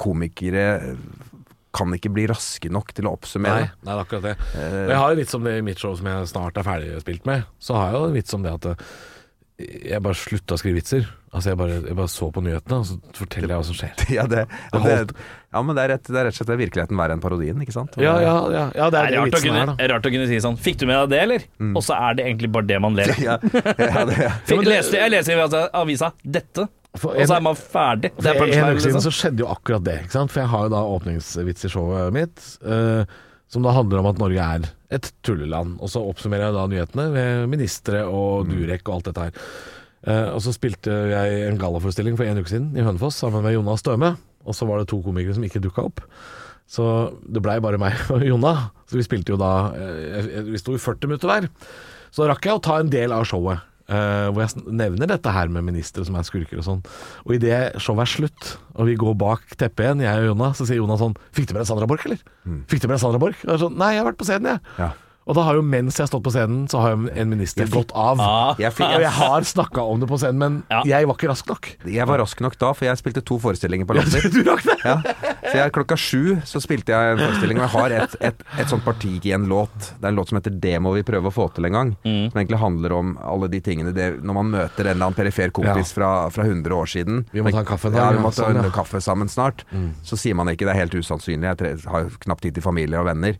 Speaker 5: komikere eh, kan ikke bli raske nok til å
Speaker 2: Nei, Eh.
Speaker 5: oppsummere.
Speaker 2: nei, det er akkurat det. Og jeg har en vits om det i mitt show som jeg snart er ferdig spilt med. Så har jeg jo en vits om det at eh, jeg bare slutta å skrive vitser. Altså Jeg bare, jeg bare så på nyhetene, og så forteller jeg hva som skjer.
Speaker 5: Ja, det, og det,
Speaker 2: holdt.
Speaker 5: ja, men det er, rett, det er rett og slett virkeligheten verre enn parodien, ikke sant? Og
Speaker 2: Ja,
Speaker 5: det-
Speaker 2: ja, ja, ja det
Speaker 4: Det
Speaker 2: er
Speaker 4: er
Speaker 2: det
Speaker 4: rart å,
Speaker 2: vitsen
Speaker 4: kunne,
Speaker 2: er, da.
Speaker 4: rart å kunne si sånn Fikk du med deg det, eller? Og så er det egentlig bare det man ler av.
Speaker 5: Mm. ja, ja, det, ja.
Speaker 4: Fikk- leste- Jeg leser i altså, avisa 'dette',
Speaker 2: For
Speaker 4: og så
Speaker 2: en-
Speaker 4: er man ferdig. Det
Speaker 2: For
Speaker 4: er
Speaker 2: en
Speaker 4: punchline,
Speaker 2: uke siden
Speaker 4: liksom.
Speaker 2: så skjedde jo akkurat det. Ikke sant? For jeg har jo da åpningsvits i showet mitt, eh, som da handler om at Norge er et tulleland. Og så oppsummerer jeg da nyhetene ved ministre og
Speaker 4: Mm.
Speaker 2: Durek og alt dette her. Eh, og så spilte jeg en gallaforestilling for en uke siden i Hønefoss sammen med Jonas Støme. Og så var det to komikere som ikke dukka opp. Så det blei bare meg og Jonna. Så vi spilte jo da eh, Vi sto i 40 minutter hver. Så da rakk jeg å ta en del av showet. eh, hvor jeg sn- nevner dette her med ministre som er skurker og sånn. Og idet showet er slutt, og vi går bak teppet igjen, jeg og Jonna, så sier Jonna sånn 'Fikk du med deg Sandra Borch, eller?' 'Fikk du med deg Sandra Borch?' Og jeg er sånn 'Nei, jeg har vært på scenen, jeg'.
Speaker 5: Ja.
Speaker 2: Og da har jo mens jeg har stått på scenen, så har Ah, jo en minister gått av.
Speaker 5: Jeg, fikk,
Speaker 2: Og jeg har snakka om det på scenen, men
Speaker 4: Ja.
Speaker 2: jeg var ikke rask nok.
Speaker 5: Jeg var rask nok da, for jeg spilte to forestillinger på Latter.
Speaker 2: Du rakk det!
Speaker 5: Ja. Så jeg, klokka sju så spilte jeg en forestilling, og jeg har et, et, et sånt parti i en låt. Det er en låt som heter 'Det må vi prøve å få til en gang'.
Speaker 4: Mm.
Speaker 5: Som egentlig handler om alle de tingene det, når man møter en eller annen perifer kompis fra, fra 100 år siden.
Speaker 2: Vi må ta en kaffe en dag,
Speaker 5: Ja, vi
Speaker 2: ja,
Speaker 5: må ta
Speaker 2: sånn,
Speaker 5: en
Speaker 2: ja. Mm.
Speaker 5: kaffe sammen snart. Så sier man ikke 'det er helt usannsynlig', jeg tre, har knapt tid til familie og venner.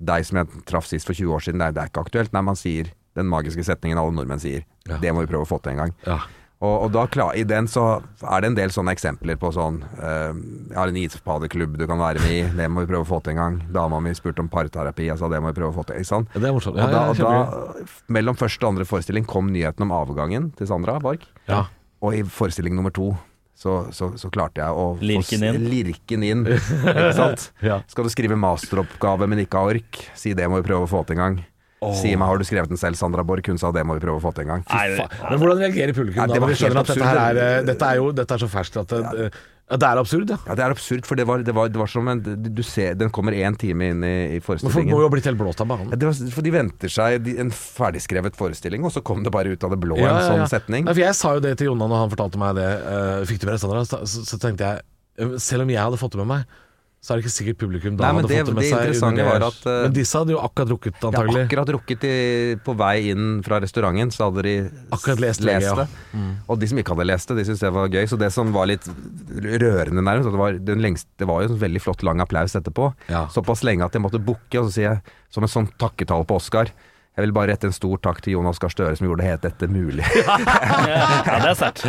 Speaker 5: Deg som jeg traff sist for 20 år siden, det er, det er ikke aktuelt. Nei, man sier den magiske setningen alle nordmenn sier.
Speaker 2: Ja.
Speaker 5: 'Det må vi prøve å få til en gang'.
Speaker 2: Ja.
Speaker 5: Og, og da, klar- I den så er det en del sånne eksempler på sånn eh, Jeg har en ispadeklubb du kan være med i, det må vi prøve å få til en gang. Dama mi spurte om parterapi, jeg sa det må vi prøve å få til. Ikke sant?
Speaker 2: Ja, det er
Speaker 5: og
Speaker 2: morsomt.
Speaker 5: da,
Speaker 2: Ja, ja,
Speaker 5: og da, mellom første og andre forestilling kom nyheten om avgangen til Sandra Barch.
Speaker 2: Ja.
Speaker 5: Og i forestilling nummer to så, så, så klarte jeg å få s-
Speaker 4: Lirken inn.
Speaker 5: Lirken inn ikke sant?
Speaker 2: Ja.
Speaker 5: Skal du skrive masteroppgave, men ikke har ork? Si det må vi prøve å få til en gang. Si meg, har du skrevet den selv, Sandra Borch? Hun sa det må vi prøve å få til en gang.
Speaker 4: Nei,
Speaker 2: Fa- Men hvordan reagerer publikum
Speaker 5: Ja,
Speaker 2: da
Speaker 5: det var
Speaker 2: når de skjønner
Speaker 5: helt
Speaker 2: at dette, her
Speaker 5: absurd.
Speaker 2: er, eh, dette er jo dette er så ferskt at det, eh, ja, det er absurd, ja.
Speaker 5: Ja, Det er absurd, for det var, det var, det var som en du du ser, Den kommer én time inn i, i
Speaker 2: Men folk
Speaker 5: forestillingen.
Speaker 2: må jo ha blitt helt blåst av
Speaker 5: Ja,
Speaker 2: banen.
Speaker 5: det var, for de venter seg de- en ferdigskrevet forestilling, og så kom det bare ut av det blå
Speaker 2: Ja, ja,
Speaker 5: en
Speaker 2: ja.
Speaker 5: sånn setning.
Speaker 2: Nei, for jeg sa jo det til Jonna når han fortalte meg det. eh, fikk du med deg Sandra? Så, så, så tenkte jeg, eh, selv om jeg hadde fått det med meg, så er det ikke sikkert publikum da
Speaker 5: Nei, men
Speaker 2: hadde
Speaker 5: det-
Speaker 2: fått det med
Speaker 5: det
Speaker 2: seg.
Speaker 5: interessante
Speaker 2: under-
Speaker 5: var at, eh,
Speaker 2: men disse hadde jo akkurat drukket,
Speaker 5: Jeg har
Speaker 2: antagelig.
Speaker 5: akkurat rukket i, på vei inn fra restauranten, så hadde de
Speaker 2: Akkurat lest
Speaker 5: det.
Speaker 2: VG, ja.
Speaker 5: Og de som ikke hadde lest det, de syntes det var gøy. Så det som var litt rørende nærmest, at det var, den lengste, det var jo en veldig flott lang applaus etterpå.
Speaker 2: Ja.
Speaker 5: Såpass lenge at jeg måtte bukke, og så sier jeg som en sånn takketale på Oscar jeg vil bare rette en stor takk til Jonas Gahr Støre som gjorde helt dette mulig.
Speaker 4: Ja, det er sterkt.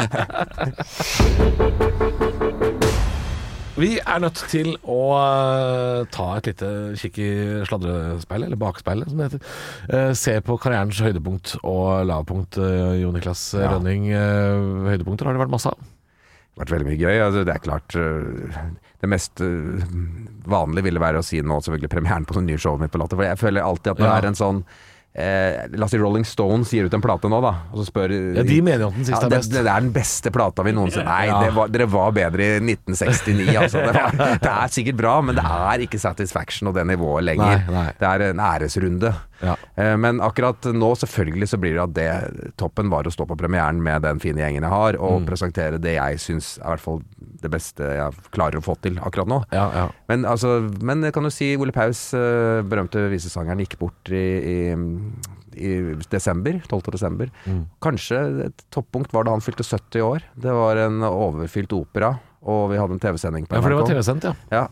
Speaker 2: Vi er nødt til å eh, ta et lite kikk i sladrespeilet, eller bakspeilet som det heter. Eh, se på karrierens høydepunkt og lavpunkt, eh, Jo Niklas Rønning. Eh, høydepunkter har det vært masse av.
Speaker 5: Det har vært veldig mye gøy. Altså, det er klart øh, Det mest øh, vanlige ville være å si nå selvfølgelig premieren på sånn nye showet mitt på Latter. For jeg føler alltid at når det
Speaker 2: Ja.
Speaker 5: er en sånn eh, La oss si Rolling Stones gir ut en plate nå, da. Og så spør
Speaker 2: Ja, de mener jo at den siste
Speaker 5: Ja,
Speaker 2: er
Speaker 5: det,
Speaker 2: best.
Speaker 5: det er den beste plata vi noensinne Nei,
Speaker 2: Ja.
Speaker 5: det var, dere var bedre i 1969, altså. Det, var, det er sikkert bra, men det er ikke satisfaction og det nivået lenger.
Speaker 2: Nei, nei.
Speaker 5: Det er en æresrunde.
Speaker 2: Ja.
Speaker 5: Eh, Men akkurat nå, selvfølgelig, så blir det at det toppen var å stå på premieren med den fine gjengen jeg har,
Speaker 2: Mm.
Speaker 4: Mm.
Speaker 5: og presentere det jeg syns er i hvert fall det beste jeg klarer å få til akkurat nå.
Speaker 2: Ja, ja.
Speaker 5: Men, altså, men jeg kan jo si Ole Paus, eh, berømte visesangeren, gikk bort i, i, i desember. 12. desember.
Speaker 2: Mm.
Speaker 5: Kanskje et toppunkt var da han fylte 70 år. Det var en overfylt opera, og vi hadde en TV-sending på
Speaker 2: Ja, for det var Mm.
Speaker 5: NRK.
Speaker 2: TV-sendt, ja.
Speaker 5: Ja,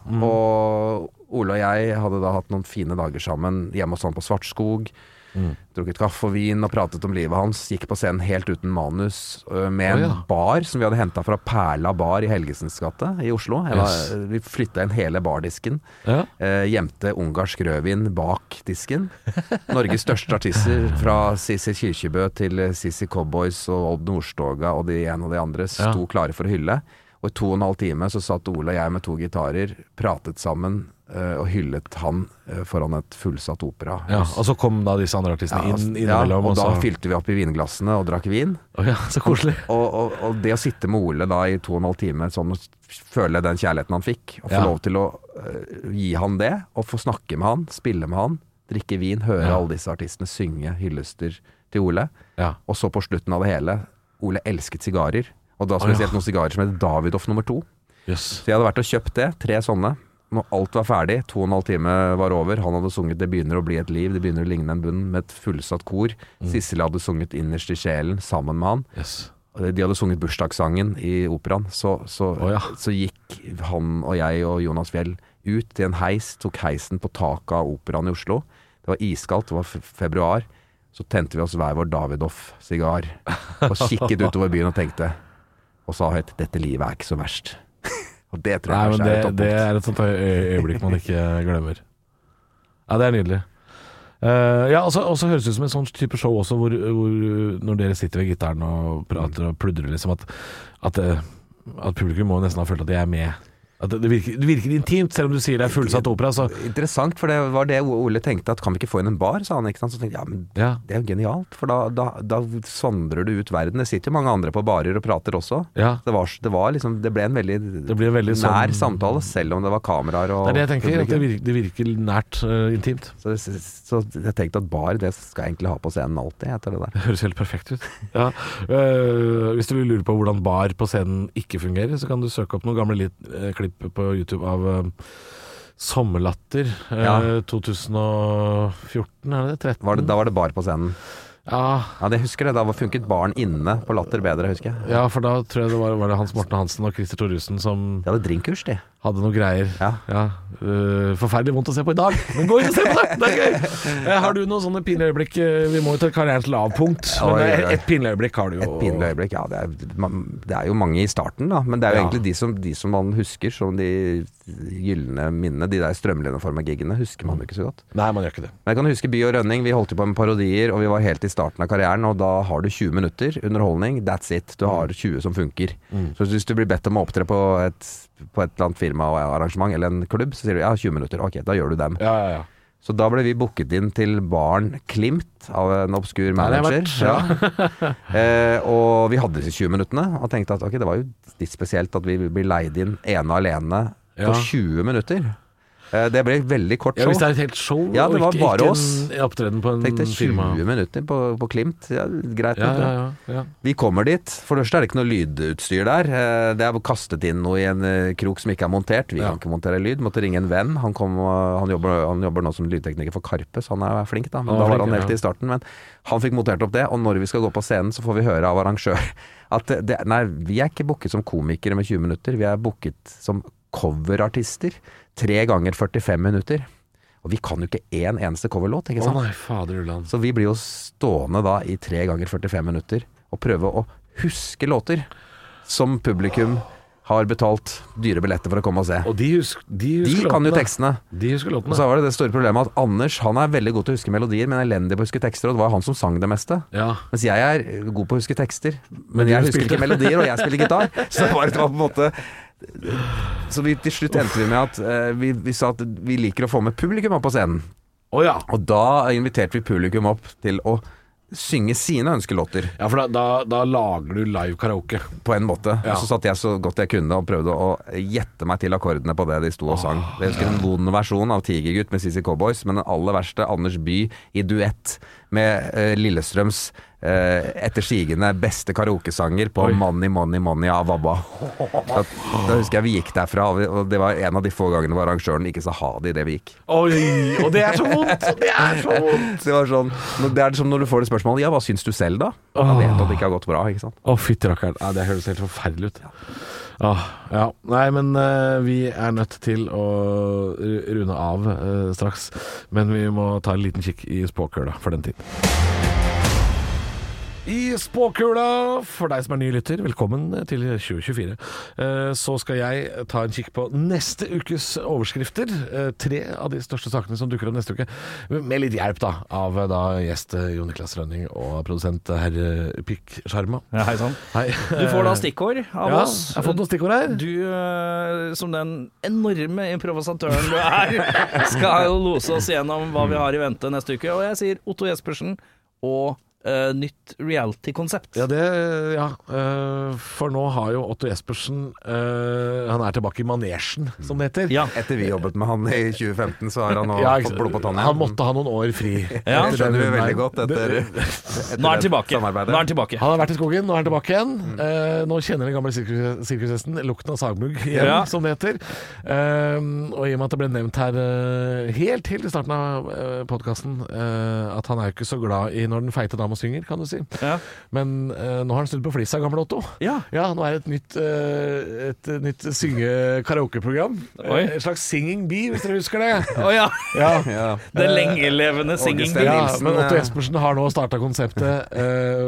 Speaker 5: og Ole og jeg hadde da hatt noen fine dager sammen hjemme hos han på Svartskog.
Speaker 2: Mm.
Speaker 5: Drukket kaffe og vin og pratet om livet hans. Gikk på scenen helt uten manus øh, med
Speaker 2: Å,
Speaker 5: en
Speaker 2: ja.
Speaker 5: bar som vi hadde henta fra Perla bar i Helgesens gate i Oslo. Jeg var,
Speaker 2: Yes.
Speaker 5: Vi flytta inn hele bardisken.
Speaker 2: ja.
Speaker 5: Eh, gjemte ungarsk rødvin bak disken. Norges største artister, fra Sissy Kyrkjebø til eh, Sissy Cowboys og Odd Nordstoga og de ene og de andre, sto
Speaker 2: Ja.
Speaker 5: klare for å hylle. Og i to og en halv time så satt Ole og jeg med to gitarer, pratet sammen eh, og hyllet han eh, foran et fullsatt opera.
Speaker 2: Ja, og så kom da disse andre artistene inn
Speaker 5: ja,
Speaker 2: innimellom.
Speaker 5: og da
Speaker 2: så-
Speaker 5: fylte vi opp i vinglassene og drakk vin.
Speaker 2: Å ja, så koselig.
Speaker 5: Og, og, og det å sitte med Ole da i to og en halv time sånn, og føle den kjærligheten han fikk, og få
Speaker 2: Ja.
Speaker 5: lov til å øh, gi han det, og få snakke med han, spille med han, drikke vin, høre
Speaker 2: Ja.
Speaker 5: alle disse artistene synge hyllester til Ole.
Speaker 2: Ja.
Speaker 5: Og så på slutten av det hele, Ole elsket sigarer, og da
Speaker 2: Å, ja.
Speaker 5: spesielt noen sigarer som heter Davidoff nummer to.
Speaker 2: Jøss.
Speaker 5: Så jeg hadde vært og kjøpt det, tre sånne. Når alt var ferdig, to og en halv time var over, han hadde sunget 'Det begynner å bli et liv', 'Det begynner å ligne en bunn', med et fullsatt kor.
Speaker 2: Mm.
Speaker 5: Sissel hadde sunget 'Innerst i sjelen' sammen med han. Eh,
Speaker 2: Jøss.
Speaker 5: De hadde sunget bursdagssangen i operaen. Så, så,
Speaker 2: Å, ja.
Speaker 5: så gikk han og jeg og Jonas Fjell ut til en heis, tok heisen på taket av operaen i Oslo. Det var iskaldt, det var f- februar. Så tente vi oss hver vår Davidoff-sigar og kikket utover byen og tenkte Og sa høyt 'Dette livet er ikke så verst'. og det tror
Speaker 2: Nei,
Speaker 5: jeg
Speaker 2: men
Speaker 5: kanskje
Speaker 2: det,
Speaker 5: er et
Speaker 2: det
Speaker 5: toppunkt.
Speaker 2: er et sånt øy- øy- øyeblikk man ikke glemmer. Ja, det er nydelig. Eh, ja, og så- og så høres det ut som en sånn type show også, hvor, hvor når dere sitter ved gitaren og prater og pludrer, liksom at, at, eh, at publikum må nesten ha følt at de er med. At det, det, virker, det virker intimt, selv om du sier det er fullsatt opera. Så,
Speaker 5: Interessant, for det var det Ole tenkte. at Kan vi ikke få inn en bar? sa han. ikke sant? Så tenkte jeg ja, men
Speaker 2: ja.
Speaker 5: det er jo genialt, for da, da, da vandrer du ut verden. Det sitter jo mange andre på barer og prater også.
Speaker 2: ja.
Speaker 5: Det, var, det, var liksom, det ble en veldig,
Speaker 2: Det blir veldig sånn-
Speaker 5: nær samtale, selv om det var kameraer og
Speaker 2: Det er det jeg tenker. At det,
Speaker 5: publikum.
Speaker 2: virker, det virker nært eh, intimt.
Speaker 5: Så, så jeg tenkte at bar, det skal jeg egentlig ha på scenen alltid, etter det der.
Speaker 2: Det høres helt perfekt ut. Ja. Eh, hvis du lurer på hvordan bar på scenen ikke fungerer, så kan du søke opp noen gamle lit, eh, klipp på YouTube av eh, Sommerlatter eh,
Speaker 5: Ja.
Speaker 2: 2014, er det det? 13?
Speaker 5: Var det, da var det bar på scenen.
Speaker 2: Ja.
Speaker 5: Ja, det husker jeg. Da var- funket barn inne på Latter bedre, husker jeg.
Speaker 2: Ja, for da tror jeg det var, var det Hans Morten Hansen og Christer Thoresen som
Speaker 5: De hadde drinkkurs, de.
Speaker 2: hadde noen greier. Ja. Øh, forferdelig vondt å se på i dag, men gå inn og se på det! Det er gøy! Eh, har du noen sånne pinlige øyeblikk? Eh, Vi må jo ta karrieren til lavpunkt.
Speaker 5: Ja,
Speaker 2: Men
Speaker 5: det gjør
Speaker 2: eh,
Speaker 5: jeg.
Speaker 2: et pinlig øyeblikk har du jo.
Speaker 5: Et pinlig øyeblikk, ja. Det er, man, det er jo mange i starten, da. Men det er jo
Speaker 2: Ja.
Speaker 5: egentlig de som, de som man husker som de gylne minnene. De der strømlinjeforma giggene husker man jo ikke så godt.
Speaker 2: Nei, man gjør ikke det.
Speaker 5: Men jeg kan huske By og Rønning. Vi holdt jo på med parodier, og vi var helt i starten av karrieren. Og da har du 20 minutter underholdning. That's it. Du har 20 som funker.
Speaker 2: Mm.
Speaker 5: Så hvis du blir bedt om å opptre på et, på et eller annet firmaarrangement eller en klubb, så sier du ja, 20 minutter. Ok, da gjør du dem.
Speaker 2: Ja, ja, ja.
Speaker 5: Så da ble vi booket inn til baren Klimt av en obskur
Speaker 2: har
Speaker 5: manager.
Speaker 2: vært,
Speaker 5: ja. eh, og vi hadde disse 20 minuttene og tenkte at ok, det var jo litt spesielt at vi blir leid inn ene og alene
Speaker 2: Ja.
Speaker 5: for 20 ah, minutter. Eh, det ble et veldig kort
Speaker 2: Ja,
Speaker 5: show.
Speaker 2: hvis det er et helt show,
Speaker 5: Ja, det
Speaker 2: og
Speaker 5: var
Speaker 2: ikke,
Speaker 5: bare
Speaker 2: ikke
Speaker 5: oss.
Speaker 2: en opptreden på en
Speaker 5: Tenkte 20
Speaker 2: firma.
Speaker 5: minutter på, på Klimt. Ja, greit.
Speaker 2: Ja,
Speaker 5: nok,
Speaker 2: ja,
Speaker 5: det.
Speaker 2: ja, ja.
Speaker 5: Vi kommer dit. For det første er det ikke noe lydutstyr der. Eh, Det er kastet inn noe i en eh, krok som ikke er montert. Vi
Speaker 2: Ja.
Speaker 5: kan ikke montere lyd. Måtte ringe en venn. Han, kom, og- han, jobber, han jobber nå som lydtekniker for Karpe, så han er flink, da. Men
Speaker 2: Han er
Speaker 5: da var
Speaker 2: flink,
Speaker 5: han
Speaker 2: ja.
Speaker 5: helt i starten. Men han fikk montert opp det. Og når vi skal gå på scenen, så får vi høre av arrangør at det- det, nei, vi er ikke booket som komikere med 20 minutter. Vi er booket som coverartister. Tre ganger 45 minutter. Og vi kan jo ikke én eneste coverlåt, ikke
Speaker 2: Å
Speaker 5: sant?
Speaker 2: nei, fader Ulland.
Speaker 5: Så vi blir jo stående da i tre ganger 45 minutter og prøve å huske låter som publikum har betalt dyre billetter for å komme og se.
Speaker 2: Og de, husk, de
Speaker 5: De
Speaker 2: husker
Speaker 5: kan jo
Speaker 2: låtene.
Speaker 5: tekstene.
Speaker 2: De husker
Speaker 5: Og
Speaker 2: låtene.
Speaker 5: så var det det store problemet at Anders han er veldig god til å huske melodier, men elendig på å huske tekster, og det var han som sang det meste.
Speaker 2: Ja.
Speaker 5: Mens jeg er god på å huske tekster, men
Speaker 2: du
Speaker 5: jeg husker
Speaker 2: spilte.
Speaker 5: ikke melodier, og jeg spiller gitar. Så det var, det var på en måte Så vi, til slutt endte vi med at eh, vi, vi sa at vi liker å få med publikum opp på scenen.
Speaker 2: Å ja.
Speaker 5: Og da inviterte vi publikum opp til å synge sine ønskelåter,
Speaker 2: ja, for da, da, da lager du live karaoke.
Speaker 5: på en måte.
Speaker 2: Ja.
Speaker 5: Og så satt jeg så godt jeg kunne og prøvde å gjette meg til akkordene på det de sto og sang. Jeg husker en vond versjon av Tigergutt med CC Cowboys, men den aller verste Anders Bye i duett med eh, Lillestrøms eh, etter sigende beste karaokesanger på
Speaker 2: Oi.
Speaker 5: Money Money Money av ABBA. Da, da husker jeg vi gikk derfra, og vi- og det var en av de få gangene hvor arrangøren ikke sa ha det idet vi gikk.
Speaker 2: Oi, og det er så vondt! Det er så vondt!
Speaker 5: Så det, var sånn, når- det er som når du får det spørsmålet Ja, hva syns du selv da? Jeg vet at det ikke har gått bra, ikke sant?
Speaker 2: Å, fytti rakkeren. Ja, det høres helt forferdelig ut. Åh, ja. Nei, men eh, vi er nødt til å ru- runde av eh, straks. Men vi må ta en liten kikk i spåkøla for den tid. I spåkula, for deg som er ny lytter, velkommen til 2024. Eh, Så skal jeg ta en kikk på neste ukes overskrifter. Eh, Tre av de største sakene som dukker opp neste uke. Med litt hjelp da, av eh, da gjest eh, Jon Niklas Rønning og produsent eh, herr eh, Pikk Sjarma.
Speaker 4: Ja, hei sann.
Speaker 2: Hei.
Speaker 4: Du får da stikkord av
Speaker 2: Ja,
Speaker 4: oss.
Speaker 2: jeg har fått noen stikkord her.
Speaker 4: Du, eh, som den enorme improvisatøren du er, skal jo lose oss gjennom hva vi har i vente neste uke. Og jeg sier Otto Jespersen og eh, nytt reality-konsept.
Speaker 2: Ja, det, ja. eh, For nå har jo Otto Jespersen eh, Han er tilbake i manesjen, som det heter.
Speaker 4: Ja.
Speaker 5: Etter vi jobbet med han i 2015, så har han nå
Speaker 2: Ja, ikke-
Speaker 5: fått blod på tanna.
Speaker 2: han måtte ha noen år fri.
Speaker 4: Ja.
Speaker 5: Det skjønner vi veldig godt etter,
Speaker 2: Det-
Speaker 5: etter
Speaker 4: Nå er han
Speaker 5: det
Speaker 4: tilbake. Nå
Speaker 5: samarbeidet.
Speaker 4: er han tilbake.
Speaker 2: Han har vært i skogen, nå er han tilbake igjen. Eh, nå kjenner den gamle sirkus- sirkushesten lukten av sagmugg igjen,
Speaker 4: Ja.
Speaker 2: som det heter. Eh, og i og med at det ble nevnt her eh, helt, helt i starten av uh, podkasten at han er jo ikke så glad i når den feite dama synger, kan du si.
Speaker 4: Ja.
Speaker 2: Men eh, nå har han snudd på flisa, gamle Otto.
Speaker 4: Ja.
Speaker 2: nå er det et nytt, eh, et nytt synge-karaokeprogram. Eh,
Speaker 4: Oi.
Speaker 2: En slags Singing Bee, hvis dere husker det.
Speaker 4: Å ja!
Speaker 2: Ja.
Speaker 5: Ja.
Speaker 4: Den lengelevende singing
Speaker 5: August,
Speaker 4: bee.
Speaker 2: Ja,
Speaker 5: Nilsen,
Speaker 2: men Otto
Speaker 5: eh,
Speaker 2: Jespersen har nå starta konseptet eh,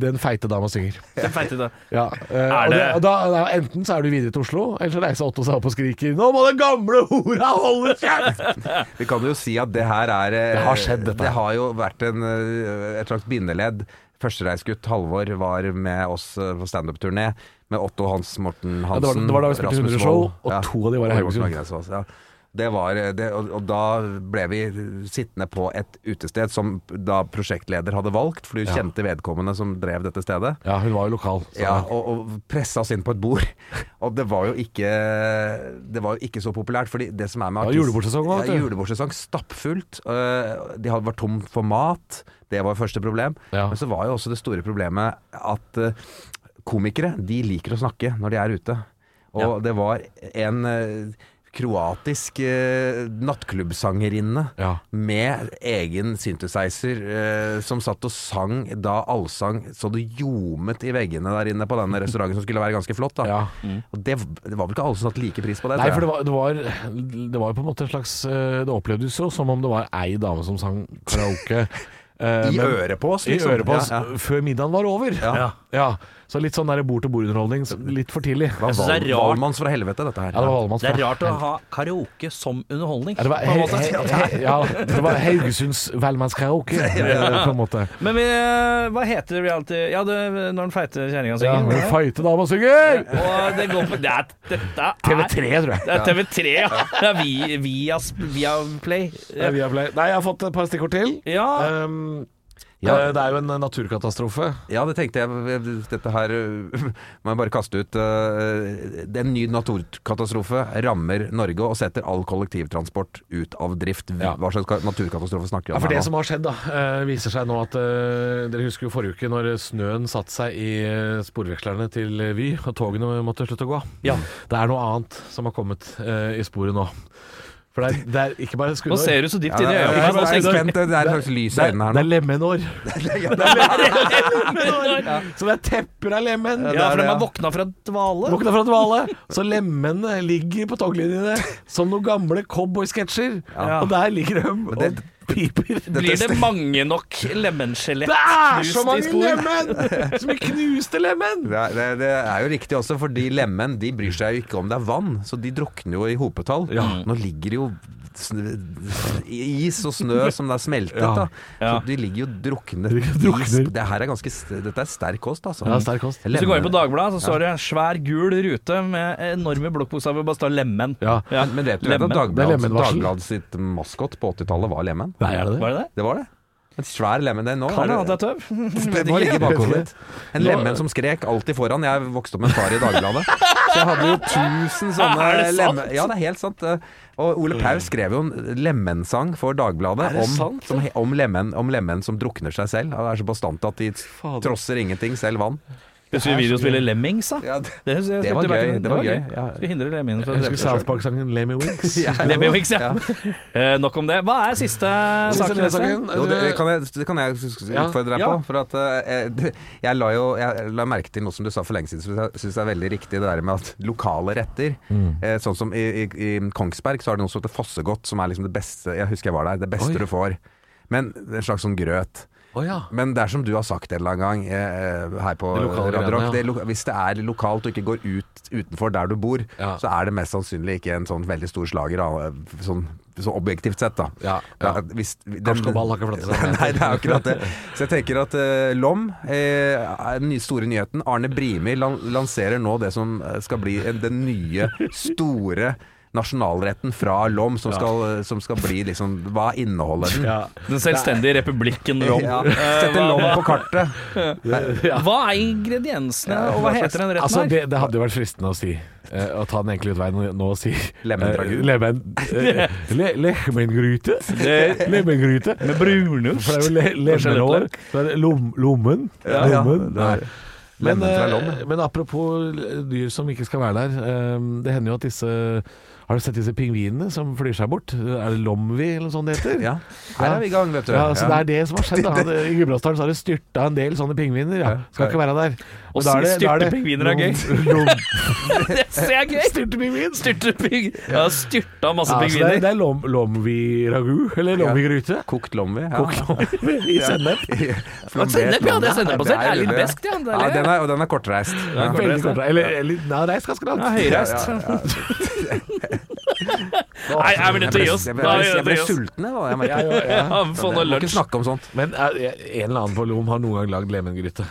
Speaker 2: 'Den feite dama synger'.
Speaker 4: Den feite da.
Speaker 2: Ja, eh,
Speaker 4: Er
Speaker 2: og det,
Speaker 4: det-
Speaker 2: og da, da, enten så er du videre til Oslo, eller så reiser Otto seg opp og skriker 'Nå må den gamle hora holde kjeft!'
Speaker 5: Vi kan jo si at det her er eh,
Speaker 2: Det har skjedd, dette.
Speaker 5: Det har jo vært en, eh, et slags bindeledd. Førstereisgutt Halvor var med oss eh, på standup-turné med Otto Hans Morten
Speaker 2: det var-
Speaker 5: Hansen.
Speaker 2: det var da vi spilte 100 show,
Speaker 5: Wold.
Speaker 2: og to av de var i
Speaker 5: og
Speaker 2: Haugesund.
Speaker 5: Morten Agnes også, Ja. Det var, eh, det, og, og da ble vi sittende på et utested som da prosjektleder hadde valgt, for du kjente vedkommende som drev dette stedet.
Speaker 2: Ja, hun var jo lokal. Så.
Speaker 5: Ja, og, og pressa oss inn på et bord. Og det var jo ikke
Speaker 6: Eh,
Speaker 5: Det var jo ikke så populært. Fordi det som er med
Speaker 2: Det var julebordsesong også, vet
Speaker 5: ja,
Speaker 2: du.
Speaker 5: julebordsesong stappfullt. øh, De hadde vært tom for mat. Det var første problem.
Speaker 2: Ja.
Speaker 5: Men så var jo også det store problemet at øh, komikere de liker å snakke når de er ute. Og det var en øh,
Speaker 6: eh, kroatisk eh, nattklubbsangerinne
Speaker 2: Ja.
Speaker 6: med egen synthesizer eh, som satt og sang da allsang så det ljomet i veggene der inne på denne restauranten, som skulle være ganske flott. da
Speaker 2: Ja.
Speaker 6: Og det, det var vel ikke alle som satte like pris på det? tror
Speaker 2: Nei,
Speaker 6: jeg.
Speaker 2: for det var, det, var, det var jo på en måte en slags eh, Det opplevdes jo som om det var ei dame som sang karaoke. eh,
Speaker 6: I
Speaker 2: men-
Speaker 6: øret på oss,
Speaker 2: I
Speaker 6: liksom.
Speaker 2: øret på oss
Speaker 6: Ja, ja.
Speaker 2: før middagen var over.
Speaker 6: Ja.
Speaker 2: Ja, Så litt sånn der bord-til-bord-underholdning. Litt for tidlig.
Speaker 6: Det var
Speaker 4: synes det er
Speaker 6: Val-
Speaker 4: rart.
Speaker 6: Valmanns fra helvete, dette her.
Speaker 2: Ja, det var Valmanns
Speaker 4: Det er
Speaker 2: fra-
Speaker 4: rart å ha karaoke som underholdning.
Speaker 2: Ja, det var,
Speaker 4: på en
Speaker 2: he,
Speaker 4: måte.
Speaker 2: he, he, ja, det var Haugesunds velmannskaraoke, eh, på en måte.
Speaker 4: Men vi, hva heter det reality Ja, det, når den feite kjerringa
Speaker 2: Ja,
Speaker 4: synger.
Speaker 2: men feite dama synger!
Speaker 4: Og det går på det er, Dette er
Speaker 2: TV3, tror jeg.
Speaker 4: Det er TV3, ja. Det er vi, via, via Play.
Speaker 2: Ja, vi har flere. Nei, jeg har fått et par stikkord til.
Speaker 4: Ja.
Speaker 2: Um,
Speaker 6: Ja.
Speaker 2: eh, Det er jo en naturkatastrofe.
Speaker 6: Ja, det tenkte jeg. eh, Dette her øh, må jeg bare kaste ut. øh, Det er En ny naturkatastrofe rammer Norge og setter all kollektivtransport ut av drift.
Speaker 2: Ja.
Speaker 6: Hva slags ka- naturkatastrofe snakker vi
Speaker 2: Ja,
Speaker 6: om
Speaker 2: for det
Speaker 6: her nå?
Speaker 2: som har skjedd da, eh, viser seg nå at eh, Dere husker jo forrige uke når snøen satte seg i eh, sporvekslerne til eh, Vy, og togene måtte slutte å gå.
Speaker 4: Ja.
Speaker 2: Det er noe annet som har kommet eh, i sporet nå. For det er, det er ikke bare
Speaker 4: Nå
Speaker 2: skuddår.
Speaker 4: ser du så dypt
Speaker 6: Ja,
Speaker 4: inn i
Speaker 6: det,
Speaker 4: øynene.
Speaker 6: er-
Speaker 4: på meg,
Speaker 6: jeg er
Speaker 4: så jeg-
Speaker 6: spent. Det er et slags lys i øynene her nå.
Speaker 2: Det er lemenår. Så det er tepper av lemen.
Speaker 4: Ja, for de er våkna fra dvale.
Speaker 2: Våkna fra dvale, så lemmene ligger på toglinjene som noen gamle cowboysketsjer. Og der ligger de og
Speaker 6: det-
Speaker 2: piper.
Speaker 4: Blir det mange nok lemenskjelett
Speaker 2: Det er så
Speaker 4: knust i
Speaker 2: mange
Speaker 4: sporen?
Speaker 2: lemen! Så mye knuste lemen!
Speaker 6: Det er, det, det er jo riktig også, fordi lemen de bryr seg jo ikke om det er vann, så de drukner jo i hopetall.
Speaker 4: Mm,
Speaker 2: Ja.
Speaker 6: Nå ligger det jo sn- is og snø som det er smeltet,
Speaker 2: Ja.
Speaker 6: da. Så
Speaker 4: Ja.
Speaker 6: de ligger jo druknet.
Speaker 2: ligger og drukner.
Speaker 6: Det her er ganske, st- dette er sterk kost, altså.
Speaker 2: Ja, sterk kost.
Speaker 4: Hvis du går inn på Dagbladet, så står det svær gul rute med enorme blokkbokstaver. Bare står 'Lemen'.
Speaker 2: Ja.
Speaker 6: Men- Men vet du vet at
Speaker 4: Lemen.
Speaker 6: Dagbladet,
Speaker 2: Det er lemenvarsel.
Speaker 6: Dagbladet sitt maskott på 80-tallet var lemen?
Speaker 2: Nei, er det
Speaker 4: Var det det?
Speaker 6: Det var det. En svær lemen. Det, nå
Speaker 4: Kan
Speaker 6: er
Speaker 4: det hende det er tøv?
Speaker 6: det må ligge i bakhodet ditt. En
Speaker 2: Nå-
Speaker 6: lemen som skrek alltid foran. Jeg vokste opp med en far i Dagbladet. Så jeg hadde jo tusen sånne
Speaker 4: Er det sant?
Speaker 6: lemen- Ja, det er helt sant. eh. Og Ole Paus skrev jo en lemensang for Dagbladet om, som, om, lemen, om lemen som drukner seg selv. Han er så bastant at de trosser ingenting, selv vann.
Speaker 4: Husker vi videospillet Lemmings, da?
Speaker 6: Ja, det-
Speaker 4: Det, husker jeg
Speaker 6: det var
Speaker 4: spilte back in-
Speaker 6: gøy, det var gøy, ja.
Speaker 4: Skulle hindre lemmingen fra å
Speaker 2: Jeg
Speaker 4: drepe
Speaker 2: husker
Speaker 4: seg
Speaker 2: South
Speaker 4: selv.
Speaker 2: Park-sangen Lemmy Wings.
Speaker 4: Lemmings, ja. Eh, nok om det. Hva er siste
Speaker 2: Siste
Speaker 4: saken? Else?
Speaker 2: nyhetssaken.
Speaker 6: Jo, det, kan jeg, det kan jeg
Speaker 2: Ja.
Speaker 6: utfordre deg
Speaker 4: Ja.
Speaker 6: på. For at, eh, det- jeg, la jo, jeg la merke til noe som du sa for lenge siden som jeg syns er veldig riktig. Det der med at lokale retter eh, Sånn som i, i, i Kongsberg så er det noe som heter fossegodt, som er liksom det beste Jeg husker jeg var der. Det beste
Speaker 2: Oi.
Speaker 6: du får. Men En slags sånn grøt.
Speaker 2: Å ja.
Speaker 6: Men det er som du har sagt en eller annen gang eh, her på
Speaker 2: Det lokale
Speaker 6: Radio
Speaker 2: greiene,
Speaker 6: Rock.
Speaker 2: ja.
Speaker 6: Det, er lo- hvis det er lokalt og ikke går ut utenfor der du bor,
Speaker 2: Ja.
Speaker 6: så er det mest sannsynlig ikke en sånn veldig stor slager, da, sånn, sånn objektivt sett, da.
Speaker 2: Ja, ja.
Speaker 6: hvis, den-
Speaker 2: Karsten og Ball har ikke flyttet seg.
Speaker 6: Nei, det er akkurat det. Så jeg tenker at eh, Lom, eh, er den nye store nyheten Arne Brimi lan lanserer nå det som eh, skal bli en- den nye, store nasjonalretten fra Lom, som skal, som skal bli liksom Hva inneholder den?
Speaker 2: Ja.
Speaker 4: Den selvstendige republikken Rom.
Speaker 6: Ja,
Speaker 4: Eh,
Speaker 6: Sette
Speaker 4: hva-
Speaker 6: Lom på kartet.
Speaker 4: Hva er ingrediensene, og hva heter den retten
Speaker 2: Altså,
Speaker 4: her?
Speaker 2: det, det hadde jo vært fristende å si. eh, å ta den enkle utveien og- nå og si
Speaker 6: Lemendragu.
Speaker 2: eh, Lemen, eh, le, lemengryte.
Speaker 4: Det-
Speaker 2: Lemengryte.
Speaker 4: Med brunost?
Speaker 2: For det er jo le, lemenår. Så er det lom, lommen.
Speaker 6: Ja, ja.
Speaker 2: lommen.
Speaker 6: Det er-
Speaker 2: Nei. Men,
Speaker 6: Lemen fra
Speaker 2: eh,
Speaker 6: Lom, ja.
Speaker 2: men apropos dyr som ikke skal være der. eh, det hender jo at disse Har du sett disse pingvinene som flyr seg bort? Er det Lomvi eller noe sånt det heter?
Speaker 6: Ja. Her er vi i gang, vet du.
Speaker 2: Ja, så
Speaker 6: Ja.
Speaker 2: det er det som har skjedd. Da. I Gudbrandsdalen så har det styrta en del sånne pingviner. Ja. Skal ikke være der.
Speaker 4: Og
Speaker 2: da det- da
Speaker 4: styrte pingviner er gøy.
Speaker 2: Lom- lom-
Speaker 4: Det ser jeg gøy!
Speaker 2: Styrtepingvin!
Speaker 4: Styrte ping... Ja, styrta masse
Speaker 2: Ja, så det, er,
Speaker 4: pingviner.
Speaker 2: det er lom, lomvi-ragu, eller lomvi-gryte.
Speaker 6: Kokt lomvi. Ja.
Speaker 2: Kokt lomvi i sennep.
Speaker 6: Flambert
Speaker 4: Sennep, ja.
Speaker 6: lomvi.
Speaker 4: Det er sennepbasert. Det er litt
Speaker 6: veldig-
Speaker 4: beskt, ja. Det
Speaker 6: Ja,
Speaker 4: er
Speaker 6: den
Speaker 4: litt-
Speaker 6: er, og den er kortreist. Ja.
Speaker 2: Veldig kort. Eller, eller nei, reis ganske langt.
Speaker 4: Ja, høyreist. Nei, er vi nødt til å gi oss?
Speaker 6: Jeg ble,
Speaker 4: Da
Speaker 6: jeg ble,
Speaker 4: er
Speaker 6: jeg
Speaker 4: vi
Speaker 6: ble
Speaker 4: nødt til å gi oss.
Speaker 6: sulten, jeg, da. Jeg merker.
Speaker 2: Ja, ja, ja.
Speaker 4: Ja, få noe
Speaker 6: Jeg må ikke
Speaker 4: lunsj.
Speaker 6: snakke om sånt.
Speaker 2: Men er, en eller annen på Lom har noen gang lagd lemengryte.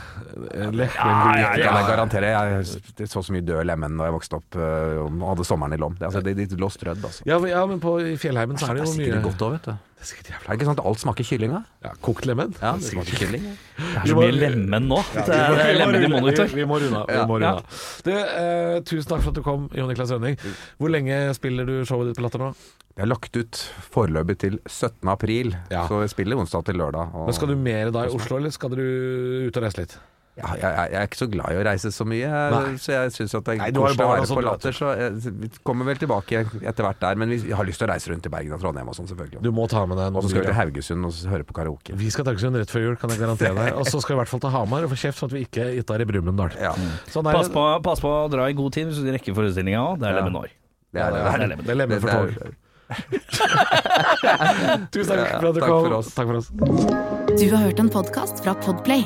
Speaker 2: Eh, Lemengryte.
Speaker 4: Ja,
Speaker 6: Det kan jeg
Speaker 4: ja.
Speaker 6: garantere. Jeg det så så mye død lemen da jeg vokste opp øh, og hadde sommeren i Lom. Det, altså, det, det lå strødd, altså.
Speaker 2: Ja, men- ja, men på i Fjellheimen så er det
Speaker 6: Det er
Speaker 2: jo
Speaker 6: sikkert
Speaker 2: mye
Speaker 6: godt òg, vet du.
Speaker 2: Det er sikkert
Speaker 6: Er
Speaker 2: jævla
Speaker 6: det ikke sånn at alt smaker kylling, da?
Speaker 2: ja, Kokt lemen?
Speaker 6: Ja, det smaker kylling.
Speaker 4: Det er så mye lemen nå. Det er det er
Speaker 2: Vi må
Speaker 4: lemen i
Speaker 2: runde-
Speaker 4: monitor.
Speaker 2: Vi, vi må runde av. Vi må runde av. Du, eh, tusen takk for at du kom, Jon Niklas Rønning. Hvor lenge spiller du showet ditt på Latter nå?
Speaker 6: Jeg har lagt ut foreløpig til 17. april,
Speaker 2: Ja.
Speaker 6: så jeg spiller onsdag til lørdag. og-
Speaker 2: Men skal du mer da i Oslo, eller skal du ut og reise litt?
Speaker 5: Ja, jeg, jeg er ikke så glad i å reise så mye,
Speaker 2: Nei.
Speaker 5: så jeg syns det
Speaker 2: Nei,
Speaker 5: er
Speaker 2: du har jo
Speaker 5: koselig å
Speaker 2: barna
Speaker 5: være
Speaker 2: som
Speaker 5: på
Speaker 2: drar
Speaker 5: Latter. Så jeg, vi kommer vel tilbake etter hvert der. Men vi jeg har lyst til å reise rundt i Bergen og Trondheim og sånn, selvfølgelig.
Speaker 2: Du må ta med deg
Speaker 5: Og
Speaker 2: noen
Speaker 5: så skal vi
Speaker 2: biler.
Speaker 5: til Haugesund og s- høre på karaoke.
Speaker 2: Vi skal til Haugesund rett før jul, kan jeg garantere deg. Og så skal vi i hvert fall til Hamar og få kjeft for at vi ikke gittar i Brumunddal.
Speaker 5: Ja.
Speaker 2: Sånn er
Speaker 4: Pass
Speaker 2: det.
Speaker 4: på, pass på å dra i god tid hvis du rekker forestillinga òg. Det er
Speaker 5: Ja.
Speaker 4: Lemenor.
Speaker 5: Det er det.
Speaker 4: Det er
Speaker 5: er
Speaker 4: lemmene.
Speaker 2: Det er lemmer for
Speaker 5: Det
Speaker 2: tog.
Speaker 5: er-
Speaker 2: Tusen takk for at du
Speaker 5: Takk
Speaker 2: kom.
Speaker 5: for oss.
Speaker 2: Takk for oss.
Speaker 8: Du har hørt en podkast fra Podplay.